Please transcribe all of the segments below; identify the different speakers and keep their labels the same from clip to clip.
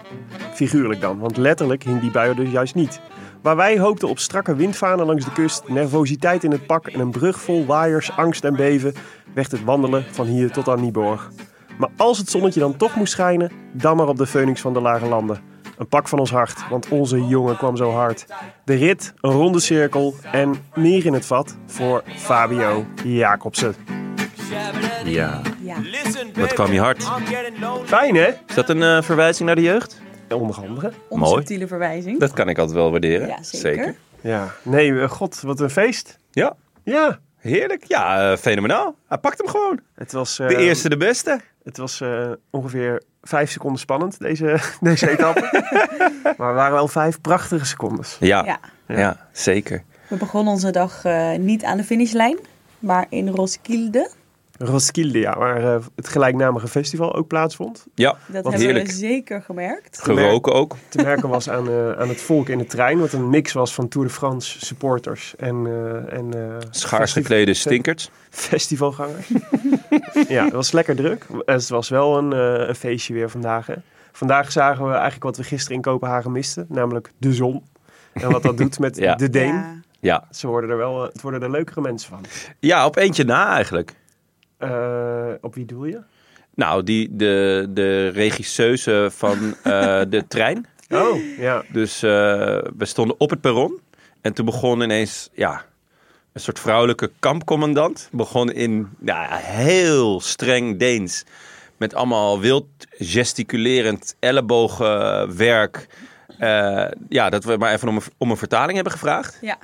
Speaker 1: Figuurlijk dan, want letterlijk hing die bui er dus juist niet. Waar wij hoopten op strakke windvanen langs de kust, nervositeit in het pak en een brug vol waaiers, angst en beven, werd het wandelen van hier tot aan Nieborg. Maar als het zonnetje dan toch moest schijnen, dan maar op de Phoenix van de Lage Landen. Een pak van ons hart, want onze jongen kwam zo hard. De rit, een ronde cirkel en meer in het vat voor Fabio Jacobsen.
Speaker 2: Ja,
Speaker 3: Ja.
Speaker 2: wat kwam je hard.
Speaker 1: Fijn hè?
Speaker 2: Is dat een eh, verwijzing naar de jeugd?
Speaker 1: Onder andere.
Speaker 3: Onsubtiele verwijzing.
Speaker 2: Dat kan ik altijd wel waarderen.
Speaker 3: Ja, zeker.
Speaker 1: Ja, nee, eh, god, wat een feest.
Speaker 2: Ja,
Speaker 1: Ja,
Speaker 2: heerlijk. Ja, eh, fenomenaal. Hij pakt hem gewoon.
Speaker 1: het was,
Speaker 2: De
Speaker 1: eh,
Speaker 2: eerste, de beste.
Speaker 1: Het was eh, ongeveer vijf seconden spannend, deze, deze etappe. maar er waren wel vijf prachtige secondes.
Speaker 2: Ja, ja.
Speaker 3: Ja.
Speaker 2: zeker.
Speaker 3: We begonnen onze dag eh, niet aan de finishlijn, maar in Roskilde.
Speaker 1: Roskilde, ja, waar eh, het gelijknamige festival ook plaatsvond.
Speaker 2: Ja,
Speaker 3: Dat
Speaker 2: wat
Speaker 3: hebben
Speaker 2: heerlijk.
Speaker 3: we zeker gemerkt.
Speaker 2: Geroken ook.
Speaker 1: Te merken was aan, eh, aan het volk in de trein, wat een mix was van Tour de France supporters en... eh, en eh,
Speaker 2: Schaars
Speaker 1: festi-
Speaker 2: geklede stinkers.
Speaker 1: Festivalgangers. ja, het was lekker druk. Het was wel een, eh, een feestje weer vandaag. Hè. Vandaag zagen we eigenlijk wat we gisteren in Kopenhagen misten, namelijk de zon. En wat dat doet met
Speaker 2: Ja.
Speaker 1: de Deen.
Speaker 3: Ja.
Speaker 2: Ja.
Speaker 1: Ze worden er wel, eh, het worden er leukere mensen van.
Speaker 2: ja, op eentje na eigenlijk.
Speaker 1: Eh, op wie doe je?
Speaker 2: Nou, die, de, de regisseuse van eh, de trein.
Speaker 1: Oh, ja.
Speaker 2: Dus eh, we stonden op het perron. En toen begon ineens, ja, een soort vrouwelijke kampcommandant. Begon in ja, heel streng Deens. Met allemaal wild gesticulerend ellebogenwerk. Eh, ja, dat we maar even om een, om een vertaling hebben gevraagd.
Speaker 3: ja.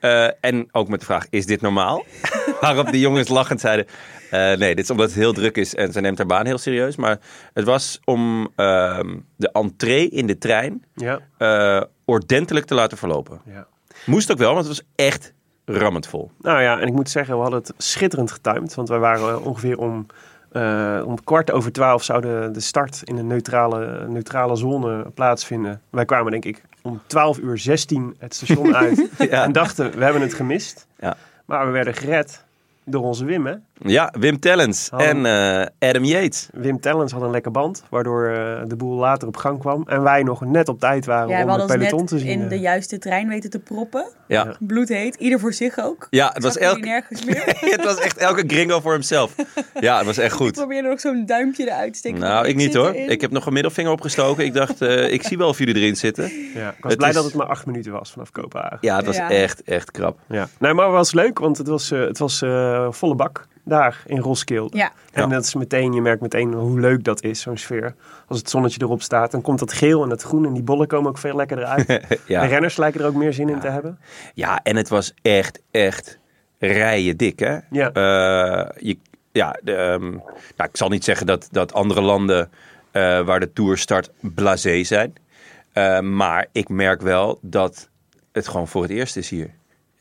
Speaker 2: Eh, en ook met de vraag, is dit normaal? Waarop de jongens lachend zeiden, eh, nee, dit is omdat het heel druk is en ze neemt haar baan heel serieus. Maar het was om ehm, de entree in de trein
Speaker 1: ja.
Speaker 2: eh, ordentelijk te laten verlopen.
Speaker 1: ja.
Speaker 2: Moest ook wel, want het was echt rammend vol.
Speaker 1: Nou ja, en ik moet zeggen, we hadden het schitterend getimed. Want wij waren eh, ongeveer om, eh, om kwart over twaalf zouden de start in een neutrale, neutrale zone plaatsvinden. Wij kwamen denk ik om 12 uur 16 het station uit.
Speaker 2: Ja.
Speaker 1: En dachten, we hebben het gemist.
Speaker 2: Ja.
Speaker 1: Maar we werden gered door onze Wim. Hè?
Speaker 2: Ja, Wim Tellens
Speaker 1: Hallo.
Speaker 2: en eh, Adam Yates.
Speaker 1: Wim Tellens had een lekker band, waardoor eh, de boel later op gang kwam. En wij nog net op tijd waren
Speaker 3: Ja, we
Speaker 1: om het
Speaker 3: hadden
Speaker 1: peloton
Speaker 3: ons
Speaker 1: te
Speaker 3: net
Speaker 1: zien. eh.
Speaker 3: in de juiste trein weten te proppen.
Speaker 2: Ja,
Speaker 1: Ja.
Speaker 2: ja.
Speaker 3: Bloedheet, ieder voor zich ook.
Speaker 2: het, was
Speaker 3: Zag jullie
Speaker 2: elke,
Speaker 3: nergens meer.
Speaker 2: het was echt elke gringo voor hemzelf. Ja, het was echt
Speaker 3: Ik
Speaker 2: goed.
Speaker 3: probeerde nog zo'n duimpje eruit te steken.
Speaker 2: Nou, ik niet
Speaker 3: zit
Speaker 2: hoor.
Speaker 3: erin.
Speaker 2: Ik heb nog een middelvinger opgestoken. Ik dacht, eh, ik zie wel of jullie erin zitten.
Speaker 1: Ja, ik was
Speaker 2: Het
Speaker 1: blij
Speaker 2: is-
Speaker 1: dat het maar acht minuten was vanaf Kopenhagen.
Speaker 2: Ja, het was
Speaker 3: Ja.
Speaker 2: echt, echt krap.
Speaker 1: Ja. Nee, maar het was leuk, want het was, eh, het was eh, volle bak daar in Roskilde.
Speaker 3: Ja,
Speaker 1: En
Speaker 2: Ja.
Speaker 1: dat is meteen, je merkt meteen hoe leuk dat is, zo'n sfeer. Als het zonnetje erop staat, dan komt dat geel en dat groen en die bollen komen ook veel lekkerder uit. De
Speaker 2: Ja.
Speaker 1: renners lijken er ook meer zin in te hebben.
Speaker 2: ja, en het was echt, echt rijen dik, hè?
Speaker 1: Ja.
Speaker 2: Eh, je, ja de, ehm, nou, ik zal niet zeggen dat, dat andere landen eh, waar de Tour start blasé zijn. Eh, maar ik merk wel dat het gewoon voor het eerst is hier.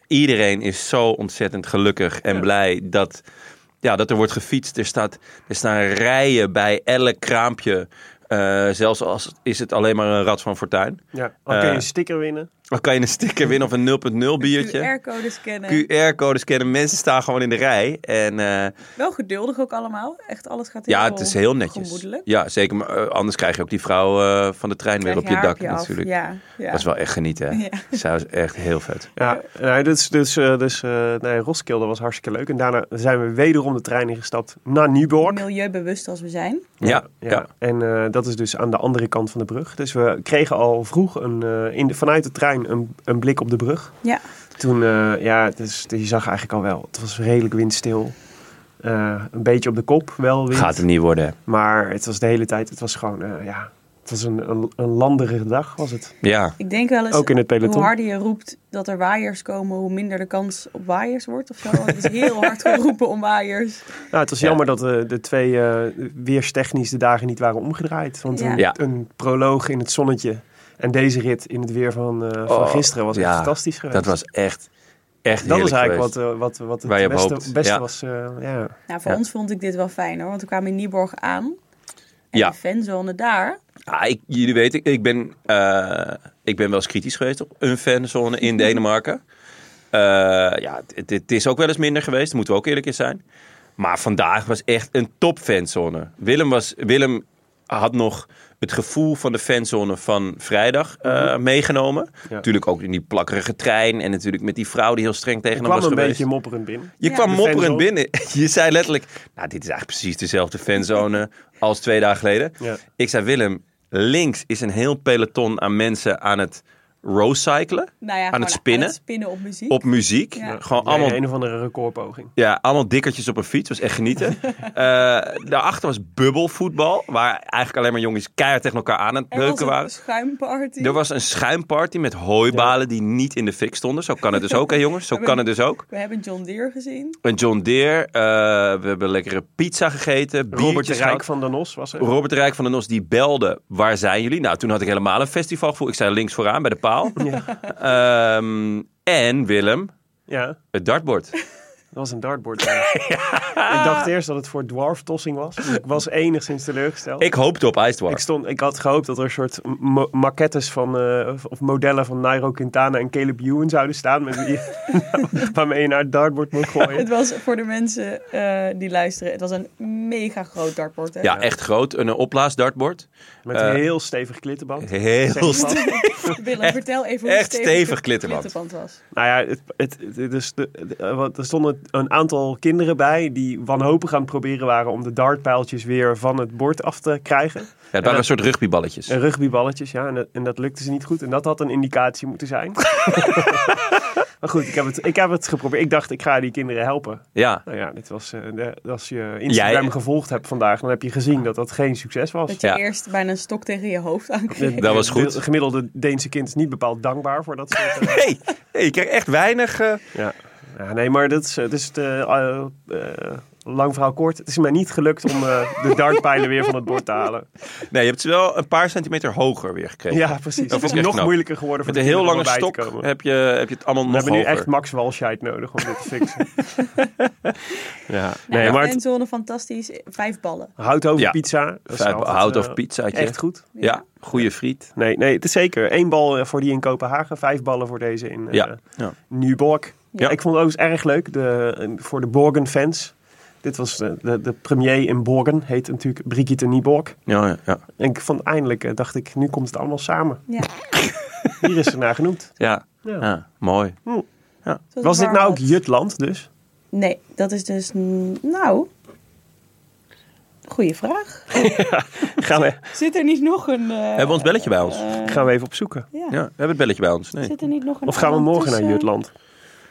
Speaker 2: Iedereen is zo ontzettend gelukkig en blij dat, ja, dat er wordt gefietst. Er, staat, er staan rijen bij elk kraampje. Eh, zelfs als is het alleen maar een Rad van Fortuin.
Speaker 1: Ja. Dan kun je
Speaker 2: Eh,
Speaker 1: een sticker winnen.
Speaker 2: Dan kan je een sticker winnen of een 0.0 biertje.
Speaker 3: QR-code scannen.
Speaker 2: QR-codes kennen. Mensen staan gewoon in de rij. En eh,
Speaker 3: Wel geduldig ook allemaal. Echt alles gaat heel
Speaker 2: ja, het is heel netjes.
Speaker 3: gemoedelijk.
Speaker 2: Ja, zeker. Maar eh, anders krijg je ook die vrouw eh, van de trein weer
Speaker 3: Krijg
Speaker 2: op je
Speaker 3: haar
Speaker 2: dak
Speaker 3: af.
Speaker 2: natuurlijk.
Speaker 3: Ja, ja.
Speaker 2: Dat is wel echt genieten. Hè?
Speaker 3: Ja.
Speaker 2: Zij was echt heel vet.
Speaker 1: Ja, nee, dus, dus, eh, dus eh, nee, Roskilde was hartstikke leuk. En daarna zijn we wederom de trein ingestapt naar Nieborg.
Speaker 3: milieubewust als we zijn.
Speaker 2: Ja, ja.
Speaker 1: En eh, dat is dus aan de andere kant van de brug. Dus we kregen al vroeg een, eh, in de, vanuit de trein een, een blik op de brug.
Speaker 3: Ja.
Speaker 1: Toen, eh, ja, dus, je zag eigenlijk al wel. Het was redelijk windstil. Eh, een beetje op de kop wel wind.
Speaker 2: Gaat het niet worden.
Speaker 1: Maar het was de hele tijd, het was gewoon, eh, ja, het was een, een, een landerige dag was het.
Speaker 2: Ja.
Speaker 3: Ik denk wel eens,
Speaker 1: Ook in het peloton.
Speaker 3: hoe harder je roept dat er waaiers komen, hoe minder de kans op waaiers wordt of zo. Want Het is heel hard geroepen om waaiers.
Speaker 1: Nou, het was
Speaker 2: Ja.
Speaker 1: jammer dat eh, de twee eh, weerstechnisch de dagen niet waren omgedraaid. Want
Speaker 3: Ja.
Speaker 1: een,
Speaker 2: Ja.
Speaker 1: een proloog in het zonnetje en deze rit in het weer van, eh, van
Speaker 2: Oh,
Speaker 1: gisteren was
Speaker 2: ja.
Speaker 1: echt fantastisch geweest.
Speaker 2: Dat was echt, echt
Speaker 1: Dat was
Speaker 2: heerlijk
Speaker 1: eigenlijk
Speaker 2: geweest.
Speaker 1: wat, eh, wat, wat
Speaker 2: Waar je
Speaker 1: het
Speaker 2: op
Speaker 1: beste,
Speaker 2: hoopt,
Speaker 1: beste
Speaker 2: ja.
Speaker 1: was. eh, ja.
Speaker 3: Nou, voor
Speaker 2: Ja.
Speaker 3: ons vond ik dit wel fijn hoor, want we kwamen in Nieborg aan. En
Speaker 2: Ja.
Speaker 3: de fanzone daar.
Speaker 2: Ah, ik, jullie weten, ik ben, eh, ik ben wel eens kritisch geweest op een fanzone in
Speaker 1: Mhm.
Speaker 2: Denemarken. Eh, ja, het, het is ook wel eens minder geweest, moeten we ook eerlijk in zijn. Maar vandaag was echt een top fanzone. Willem, was, Willem had nog het gevoel van de fanzone van vrijdag eh, meegenomen.
Speaker 1: Mhm. Ja.
Speaker 2: Natuurlijk ook in die plakkerige trein en natuurlijk met die vrouw die heel streng tegen
Speaker 1: Ik
Speaker 2: hem
Speaker 1: kwam
Speaker 2: was
Speaker 1: een
Speaker 2: geweest.
Speaker 1: beetje mopperend binnen.
Speaker 2: Je
Speaker 3: Ja.
Speaker 2: kwam
Speaker 1: De
Speaker 2: mopperend
Speaker 1: fanzone.
Speaker 2: binnen. Je zei letterlijk, nou dit is eigenlijk precies dezelfde fanzone als twee dagen geleden.
Speaker 1: Ja.
Speaker 2: Ik zei, Willem, links is een heel peloton aan mensen aan het roadcyclen.
Speaker 3: Nou ja,
Speaker 2: aan
Speaker 3: gewoon
Speaker 2: het spinnen.
Speaker 3: aan het spinnen op muziek.
Speaker 2: Op muziek.
Speaker 3: Ja.
Speaker 2: Gewoon
Speaker 1: Allemaal
Speaker 2: oh, allemaal,
Speaker 1: een of andere recordpoging.
Speaker 2: ja, allemaal dikkertjes op een fiets. was echt genieten. Eh, daarachter was bubbelvoetbal. Waar eigenlijk alleen maar jongens keihard tegen elkaar aan aan het
Speaker 3: er was
Speaker 2: beuken
Speaker 3: een
Speaker 2: waren.
Speaker 3: schuimparty.
Speaker 2: Er was een schuimparty met hooibalen die niet in de fik stonden. Zo kan het dus ook, hè jongens? Zo kan het dus ook.
Speaker 3: We hebben John Deere gezien.
Speaker 2: Een John Deere. eh, we hebben lekkere pizza gegeten.
Speaker 1: Robert de
Speaker 2: biertjes gehad.
Speaker 1: Rijk van Den Os was er.
Speaker 2: Robert de Rijk van de Nos die belde: Waar zijn jullie? Nou, toen had ik helemaal een festivalgevoel. Ik zei links vooraan bij de paal. Ehm, en Willem,
Speaker 1: Ja, dat
Speaker 2: het dartbord.
Speaker 1: was een dartboard. Ik dacht eerst dat het voor dwarftossing was. Dus ik was enigszins teleurgesteld.
Speaker 2: Ik hoopte op
Speaker 1: Ik,
Speaker 2: ijsdwarf.
Speaker 1: stond, ik had gehoopt dat er een soort ma- maquettes van, eh, of- of modellen van Nairo Quintana en Caleb Ewan zouden staan. Met wie, waarmee je naar het dartboard moet gooien.
Speaker 3: Het was voor de mensen eh, die luisteren, het was een mega groot dartbord. hè?
Speaker 2: Ja, echt groot. Een eh, opblaasdartbord.
Speaker 1: Met
Speaker 2: Eh,
Speaker 1: een heel stevig klittenband. Zeg
Speaker 2: Heel
Speaker 1: je
Speaker 2: sterk.
Speaker 3: Willem,
Speaker 2: Echt-
Speaker 3: vertel even hoe
Speaker 2: echt
Speaker 3: stevig,
Speaker 2: stevig
Speaker 3: de
Speaker 2: klittenband.
Speaker 3: was.
Speaker 1: Nou ja, het, het, het- dus de, de- eh, want er stonden een aantal kinderen bij die wanhopig aan het proberen waren om de dartpijltjes weer van het bord af te krijgen.
Speaker 2: Ja, het waren een soort rugbyballetjes.
Speaker 1: En rugbyballetjes, ja, en dat, en dat lukte ze niet goed. En dat had een indicatie moeten zijn. maar goed, ik heb, het, ik heb het geprobeerd. Ik dacht, ik ga die kinderen helpen.
Speaker 2: Ja.
Speaker 1: Nou ja, dit was, eh, de- als je Instagram
Speaker 2: Jij-
Speaker 1: gevolgd hebt vandaag, dan heb je gezien dat dat geen succes was.
Speaker 3: Dat je
Speaker 2: Ja.
Speaker 3: eerst bijna een stok tegen je hoofd aankreeg.
Speaker 2: Dat was goed.
Speaker 1: Het gemiddelde Deense kind is niet bepaald dankbaar voor dat soort... eh,
Speaker 2: Hey, hey, ik krijg echt weinig. eh,
Speaker 1: Ja. ja, nee, maar dat is, eh, dus de, eh, eh, lang verhaal kort. Het is mij niet gelukt om eh, de dartpijlen weer van het bord te halen.
Speaker 2: Nee, je hebt ze wel een paar centimeter hoger weer gekregen.
Speaker 1: Ja, precies.
Speaker 2: Dat
Speaker 1: Het
Speaker 2: vond
Speaker 1: is
Speaker 2: ik echt
Speaker 1: nog
Speaker 2: knap.
Speaker 1: moeilijker geworden voor
Speaker 2: Met een
Speaker 1: de
Speaker 2: heel lange
Speaker 1: kinderen om erbij
Speaker 2: stok
Speaker 1: te komen.
Speaker 2: heb je, heb je het allemaal
Speaker 1: We
Speaker 2: nog
Speaker 1: hebben nu
Speaker 2: hoger.
Speaker 1: echt Max Walscheid nodig om dit te fixen. ja.
Speaker 3: Nou,
Speaker 1: Nee, maar
Speaker 3: en zo'n fantastisch vijf ballen.
Speaker 1: hout over
Speaker 2: Ja.
Speaker 1: pizza. dat is
Speaker 2: Vijf-
Speaker 1: altijd,
Speaker 2: hout
Speaker 1: eh,
Speaker 2: of pizzaatje.
Speaker 1: Echt goed.
Speaker 2: Ja, goede friet.
Speaker 1: Nee, nee, het is zeker. Eén bal eh, voor die in Kopenhagen, vijf ballen voor deze in eh
Speaker 2: Ja. ja.
Speaker 1: Nyborg.
Speaker 2: Ja.
Speaker 1: Ik vond het ook erg leuk de, eh, voor de Borgen-fans. Dit was de, de, de premier in Borgen, heet natuurlijk Brigitte Nyborg.
Speaker 2: Ja, ja, ja.
Speaker 1: En ik vond eindelijk, eh, dacht ik, nu komt het allemaal samen.
Speaker 3: Ja.
Speaker 1: Hier is ze naar genoemd.
Speaker 2: ja.
Speaker 1: Ja.
Speaker 2: ja, mooi.
Speaker 3: Zoals
Speaker 1: Was dit
Speaker 3: warm
Speaker 1: nou ook
Speaker 3: bad.
Speaker 1: Jutland dus?
Speaker 3: Nee, dat is dus... mm, Nou... Goeie vraag.
Speaker 1: Gaan we,
Speaker 3: Zit er niet nog een... eh,
Speaker 2: Hebben we ons belletje bij ons?
Speaker 3: eh,
Speaker 1: gaan we even opzoeken.
Speaker 3: ja.
Speaker 2: Ja, we hebben het belletje bij ons. Nee.
Speaker 3: Zit er niet nog een
Speaker 1: Of gaan we
Speaker 3: eiland
Speaker 1: morgen naar
Speaker 3: tussen?
Speaker 1: Jutland?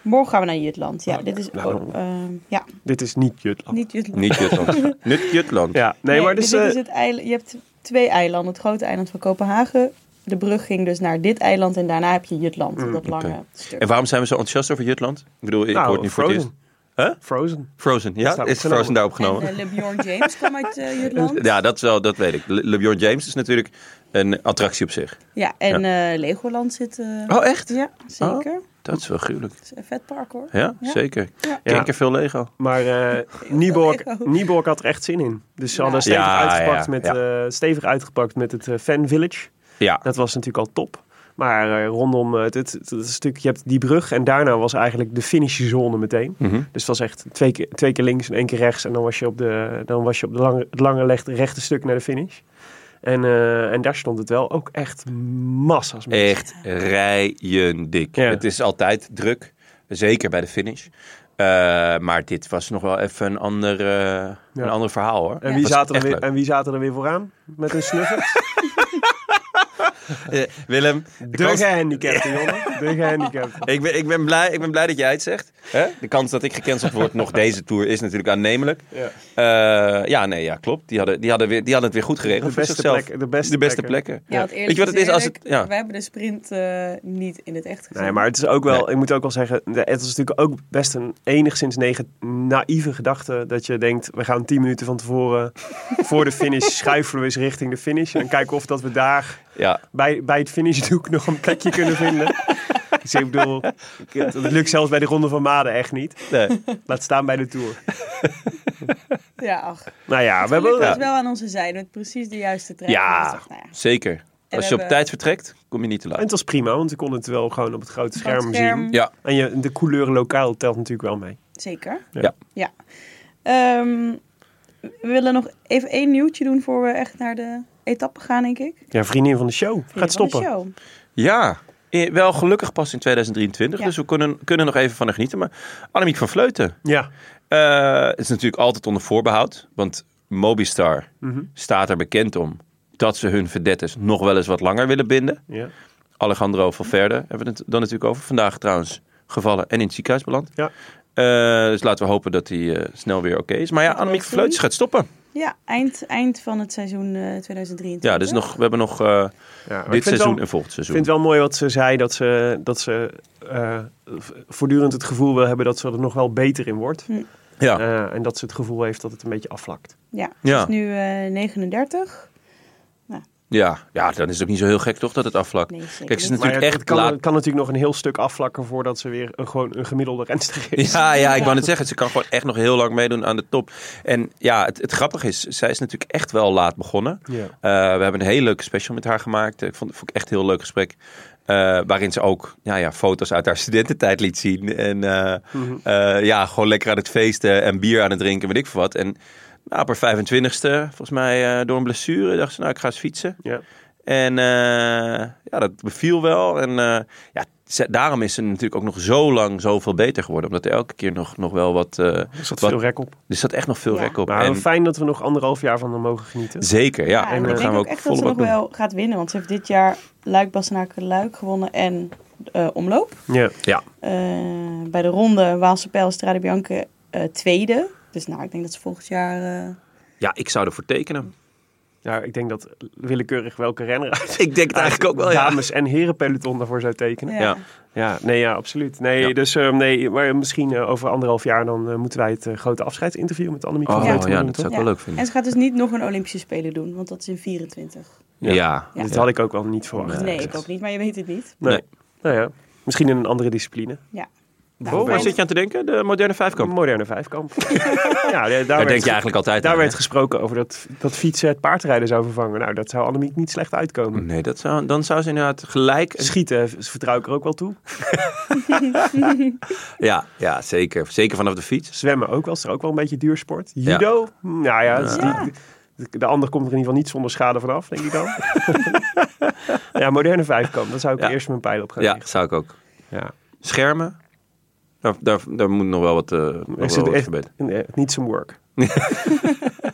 Speaker 3: Morgen gaan we naar Jutland. Ja, dit is...
Speaker 1: nou,
Speaker 3: ook, ehm, ja,
Speaker 1: Dit is niet Jutland.
Speaker 3: niet Jutland.
Speaker 2: Niet Jutland. Niet Jutland.
Speaker 1: Ja, nee, maar dus,
Speaker 3: dit dit
Speaker 1: eh,
Speaker 3: is het eiland. Je hebt twee eilanden. Het grote eiland van Kopenhagen. De brug ging dus naar dit eiland en daarna heb je Jutland.
Speaker 1: Mm,
Speaker 3: dat lange stuk.
Speaker 2: En waarom zijn we zo enthousiast over Jutland? Ik bedoel, ik
Speaker 1: nou,
Speaker 2: hoor het nu voor het eerst.
Speaker 1: Frozen.
Speaker 2: Huh?
Speaker 1: Frozen.
Speaker 2: Frozen, ja?
Speaker 1: Staat
Speaker 2: Is
Speaker 1: opgenomen.
Speaker 2: Frozen daar
Speaker 1: nou?
Speaker 3: En
Speaker 2: opgenomen?
Speaker 3: eh, LeBron James kwam uit eh, Jutland.
Speaker 2: Ja, dat, is wel, dat weet ik. Le- LeBron James is natuurlijk een attractie op zich.
Speaker 3: Ja, en eh, Legoland zit... eh,
Speaker 2: Oh, echt?
Speaker 3: Ja, zeker.
Speaker 2: Dat is wel gruwelijk.
Speaker 3: Het is een vet park hoor.
Speaker 2: Ja,
Speaker 3: Ja.
Speaker 2: zeker.
Speaker 3: Ja.
Speaker 2: Eén
Speaker 1: Ja.
Speaker 2: keer veel Lego.
Speaker 1: Maar eh Nieborg,
Speaker 3: Lego.
Speaker 1: Nieborg had er echt zin in. Dus ze hadden
Speaker 3: Ja.
Speaker 1: stevig,
Speaker 2: Ja,
Speaker 1: uitgepakt
Speaker 2: ja,
Speaker 1: met,
Speaker 2: ja.
Speaker 1: eh, stevig uitgepakt met het eh, Fan Village.
Speaker 2: Ja,
Speaker 1: Dat was natuurlijk al top. Maar eh, rondom eh, het, het, het stuk, je hebt die brug en daarna was eigenlijk de finishzone meteen.
Speaker 2: Mhm.
Speaker 1: Dus het was echt twee keer, twee keer links en één keer rechts. En dan was je op, de, dan was je op de lange, het lange leg- rechte stuk naar de finish. En, eh, en daar stond het wel ook echt massa's mensen.
Speaker 2: echt rijen dik.
Speaker 1: Ja.
Speaker 2: Het is altijd druk, zeker bij de finish. Eh, maar dit was nog wel even een ander, eh, een ander verhaal hoor.
Speaker 1: En
Speaker 2: Het
Speaker 1: wie,
Speaker 2: was
Speaker 1: zaten er
Speaker 2: echt
Speaker 1: weer,
Speaker 2: leuk.
Speaker 1: en wie zaten er weer vooraan? Met een snuffer?
Speaker 2: Eh, Willem, de
Speaker 1: De
Speaker 2: kans-
Speaker 1: gehandicapte, jongen. De gehandicapte.
Speaker 2: ik, ben, ik, ben blij, ik ben blij dat jij het zegt. Hè? De kans dat ik gecanceld word nog deze tour is natuurlijk aannemelijk.
Speaker 1: Ja.
Speaker 2: Eh, ja, nee, ja, klopt. Die hadden, die, hadden weer, die hadden het weer goed geregeld
Speaker 1: De
Speaker 2: voor
Speaker 1: beste
Speaker 2: zichzelf.
Speaker 1: plekken- de beste plekken.
Speaker 2: plekken.
Speaker 3: Ja, want
Speaker 2: Weet
Speaker 3: eerlijk
Speaker 2: je wat het is als het... Ja.
Speaker 3: We hebben de sprint eh, niet in het echt gezien.
Speaker 1: Nee, maar het is ook wel,
Speaker 2: Nee.
Speaker 1: ik moet ook wel zeggen, de- het is natuurlijk ook best een enigszins nege, naïeve gedachte dat je denkt, we gaan 10 minuten van tevoren voor de finish schuifelen we eens richting de finish en kijken of dat we daar
Speaker 2: Ja,
Speaker 1: bij, bij het finishdoek nog een plekje kunnen vinden. Dus ik bedoel, ik- het lukt zelfs bij de Ronde van Maden echt niet.
Speaker 2: nee.
Speaker 1: Laat staan bij de Tour.
Speaker 3: Ja, ach. We
Speaker 1: Nou ja, we hebben...
Speaker 3: hebben
Speaker 1: Ja.
Speaker 3: het wel aan onze zijde met precies de juiste trein. Dus
Speaker 2: ja
Speaker 3: ik dacht, nou ja,
Speaker 2: zeker. Als je op
Speaker 3: hebben-
Speaker 2: tijd vertrekt, kom je niet te
Speaker 1: En het
Speaker 2: laat.
Speaker 1: was prima, want we konden het wel gewoon op het grote
Speaker 3: groot
Speaker 1: scherm, zien.
Speaker 2: Ja,
Speaker 1: En je, de couleur lokaal telt natuurlijk wel mee.
Speaker 3: Zeker.
Speaker 2: Ja.
Speaker 3: ja. Ehm, we willen nog even één nieuwtje doen voor we echt naar de etappe gaan, denk ik.
Speaker 1: Ja, vriendin van de show. Gaat
Speaker 3: Van de
Speaker 1: stoppen.
Speaker 3: show.
Speaker 2: ja. Eh, Wel gelukkig pas in 2023,
Speaker 3: Ja.
Speaker 2: dus we kunnen, kunnen nog even van haar genieten. Maar Annemiek van Vleuten,
Speaker 1: Ja.
Speaker 2: Eh, het is natuurlijk altijd onder voorbehoud. Want Mobistar
Speaker 1: Mhm.
Speaker 2: staat er bekend om dat ze hun verdettes nog wel eens wat langer willen binden.
Speaker 1: ja.
Speaker 2: Alejandro Valverde hebben we het dan natuurlijk over. Vandaag trouwens gevallen en in het ziekenhuis beland.
Speaker 1: Ja.
Speaker 2: Eh, dus laten we hopen dat hij eh, snel weer oké is. Maar ja, Annemiek
Speaker 3: wel
Speaker 2: Vleutjes
Speaker 3: zien.
Speaker 2: gaat stoppen.
Speaker 3: Ja, eind, eind van het seizoen eh 2023.
Speaker 2: Ja, dus nog, we hebben nog eh,
Speaker 1: Ja, maar ik
Speaker 2: dit
Speaker 1: vind het
Speaker 2: seizoen
Speaker 1: wel-
Speaker 2: en volgend
Speaker 1: Ik
Speaker 2: seizoen.
Speaker 1: vind het wel mooi wat ze zei, dat ze, dat ze eh, v- voortdurend het gevoel wil hebben dat ze er nog wel beter in wordt.
Speaker 2: Ja,
Speaker 1: Eh, en dat ze het gevoel heeft dat het een beetje afvlakt.
Speaker 3: Ja, ze
Speaker 2: Ja.
Speaker 3: is nu eh 39.
Speaker 2: ja, ja, dan is het ook niet zo heel gek toch dat het afvlakt.
Speaker 3: Nee, zeker
Speaker 2: Kijk, het is
Speaker 3: niet.
Speaker 1: Maar
Speaker 2: natuurlijk
Speaker 1: het,
Speaker 2: echt
Speaker 1: het kan,
Speaker 2: laat.
Speaker 1: het kan natuurlijk nog een heel stuk afvlakken voordat ze weer een, gewoon een gemiddelde renster is.
Speaker 2: Ja, ja, ik wou net zeggen, ze kan gewoon echt nog heel lang meedoen aan de top. En ja, het, het grappige is, zij is natuurlijk echt wel laat begonnen.
Speaker 1: Ja.
Speaker 2: Eh, we hebben een heel leuk special met haar gemaakt. Ik vond, vond ik echt een heel leuk gesprek. eh, waarin ze ook ja, ja, foto's uit haar studententijd liet zien. En eh,
Speaker 1: Mhm.
Speaker 2: eh, ja, gewoon lekker aan het feesten en bier aan het drinken, weet ik veel wat. En nou, op haar 25ste, volgens mij eh, door een blessure, dacht ze, nou, ik ga eens fietsen.
Speaker 1: Ja.
Speaker 2: En eh, ja, dat beviel wel. En eh, ja, ze- daarom is ze natuurlijk ook nog zo lang zoveel beter geworden. Omdat er elke keer nog, nog wel wat... eh,
Speaker 1: Er zat
Speaker 2: wat-
Speaker 1: veel rek op.
Speaker 2: Er zat echt nog veel
Speaker 3: Ja.
Speaker 2: rek op.
Speaker 1: Maar
Speaker 2: En
Speaker 1: fijn dat we nog anderhalf jaar van haar mogen genieten.
Speaker 2: zeker, ja.
Speaker 3: Ja,
Speaker 2: en
Speaker 3: en ik
Speaker 2: dan
Speaker 3: denk
Speaker 2: gaan we
Speaker 3: ook
Speaker 2: ook
Speaker 3: echt dat ze nog
Speaker 2: volop doen.
Speaker 3: wel gaat winnen. Want ze heeft dit jaar Luik, Bastenaken, Luik gewonnen en eh, Omloop.
Speaker 1: Ja.
Speaker 2: Ja,
Speaker 3: Eh, bij de ronde Waalse Pijl, Strade Bianca eh, tweede. Dus nou, ik denk dat ze volgend jaar... eh,
Speaker 2: ja, ik zou ervoor tekenen.
Speaker 1: ja, ik denk dat willekeurig welke renner uit
Speaker 2: Ik denk het eigenlijk ook wel, ja.
Speaker 1: dames- en herenpeloton daarvoor zou tekenen.
Speaker 3: ja.
Speaker 2: Ja.
Speaker 1: Ja, nee, ja, absoluut. Nee,
Speaker 2: Ja.
Speaker 1: dus ehm, nee, maar misschien eh, over anderhalf jaar dan eh, moeten wij het eh, grote afscheidsinterview met Annemiek van
Speaker 2: Oh,
Speaker 1: Vleuten
Speaker 2: ja,
Speaker 1: doen,
Speaker 2: dat
Speaker 1: toch?
Speaker 2: zou ik wel leuk vinden.
Speaker 3: En ze gaat dus niet nog een Olympische Spelen doen, want dat is in 24.
Speaker 2: Ja.
Speaker 3: Ja.
Speaker 1: Dit had ik ook wel niet verwacht.
Speaker 3: nee, ik
Speaker 2: exact.
Speaker 3: ook niet, maar je weet het niet.
Speaker 1: Nee.
Speaker 2: Nee.
Speaker 1: Nou ja, misschien in een andere discipline.
Speaker 3: Ja. Nou,
Speaker 2: Oh, waar
Speaker 1: Bijvoorbeeld.
Speaker 2: zit je aan te denken? De moderne vijfkamp.
Speaker 1: Moderne vijfkamp. ja, daar,
Speaker 2: Daar
Speaker 1: werd,
Speaker 2: denk je eigenlijk altijd
Speaker 1: daar
Speaker 2: aan,
Speaker 1: werd
Speaker 2: hè?
Speaker 1: gesproken over dat, dat fietsen het paardrijden zou vervangen. Nou, dat zou Annemiek niet slecht uitkomen.
Speaker 2: Nee, dat zou, dan zou ze inderdaad gelijk...
Speaker 1: Schieten v- vertrouw ik er ook wel toe.
Speaker 2: Ja, ja zeker. Zeker vanaf de fiets.
Speaker 1: Zwemmen ook wel, is er ook wel een beetje duursport. Judo, nou ja, het is
Speaker 3: Ja.
Speaker 1: die- de, de ander komt er in ieder geval niet zonder schade vanaf, denk ik dan. ja, moderne vijfkamp, daar zou ik
Speaker 2: Ja.
Speaker 1: eerst mijn pijl op gaan
Speaker 2: Ja,
Speaker 1: richten.
Speaker 2: zou ik ook.
Speaker 1: Ja.
Speaker 2: Schermen. Daar, daar, daar moet nog wel wat, eh nog
Speaker 1: Ik
Speaker 2: wel
Speaker 1: zit
Speaker 2: wat
Speaker 1: echt eh,
Speaker 2: gebeuren.
Speaker 1: niet some work. ja.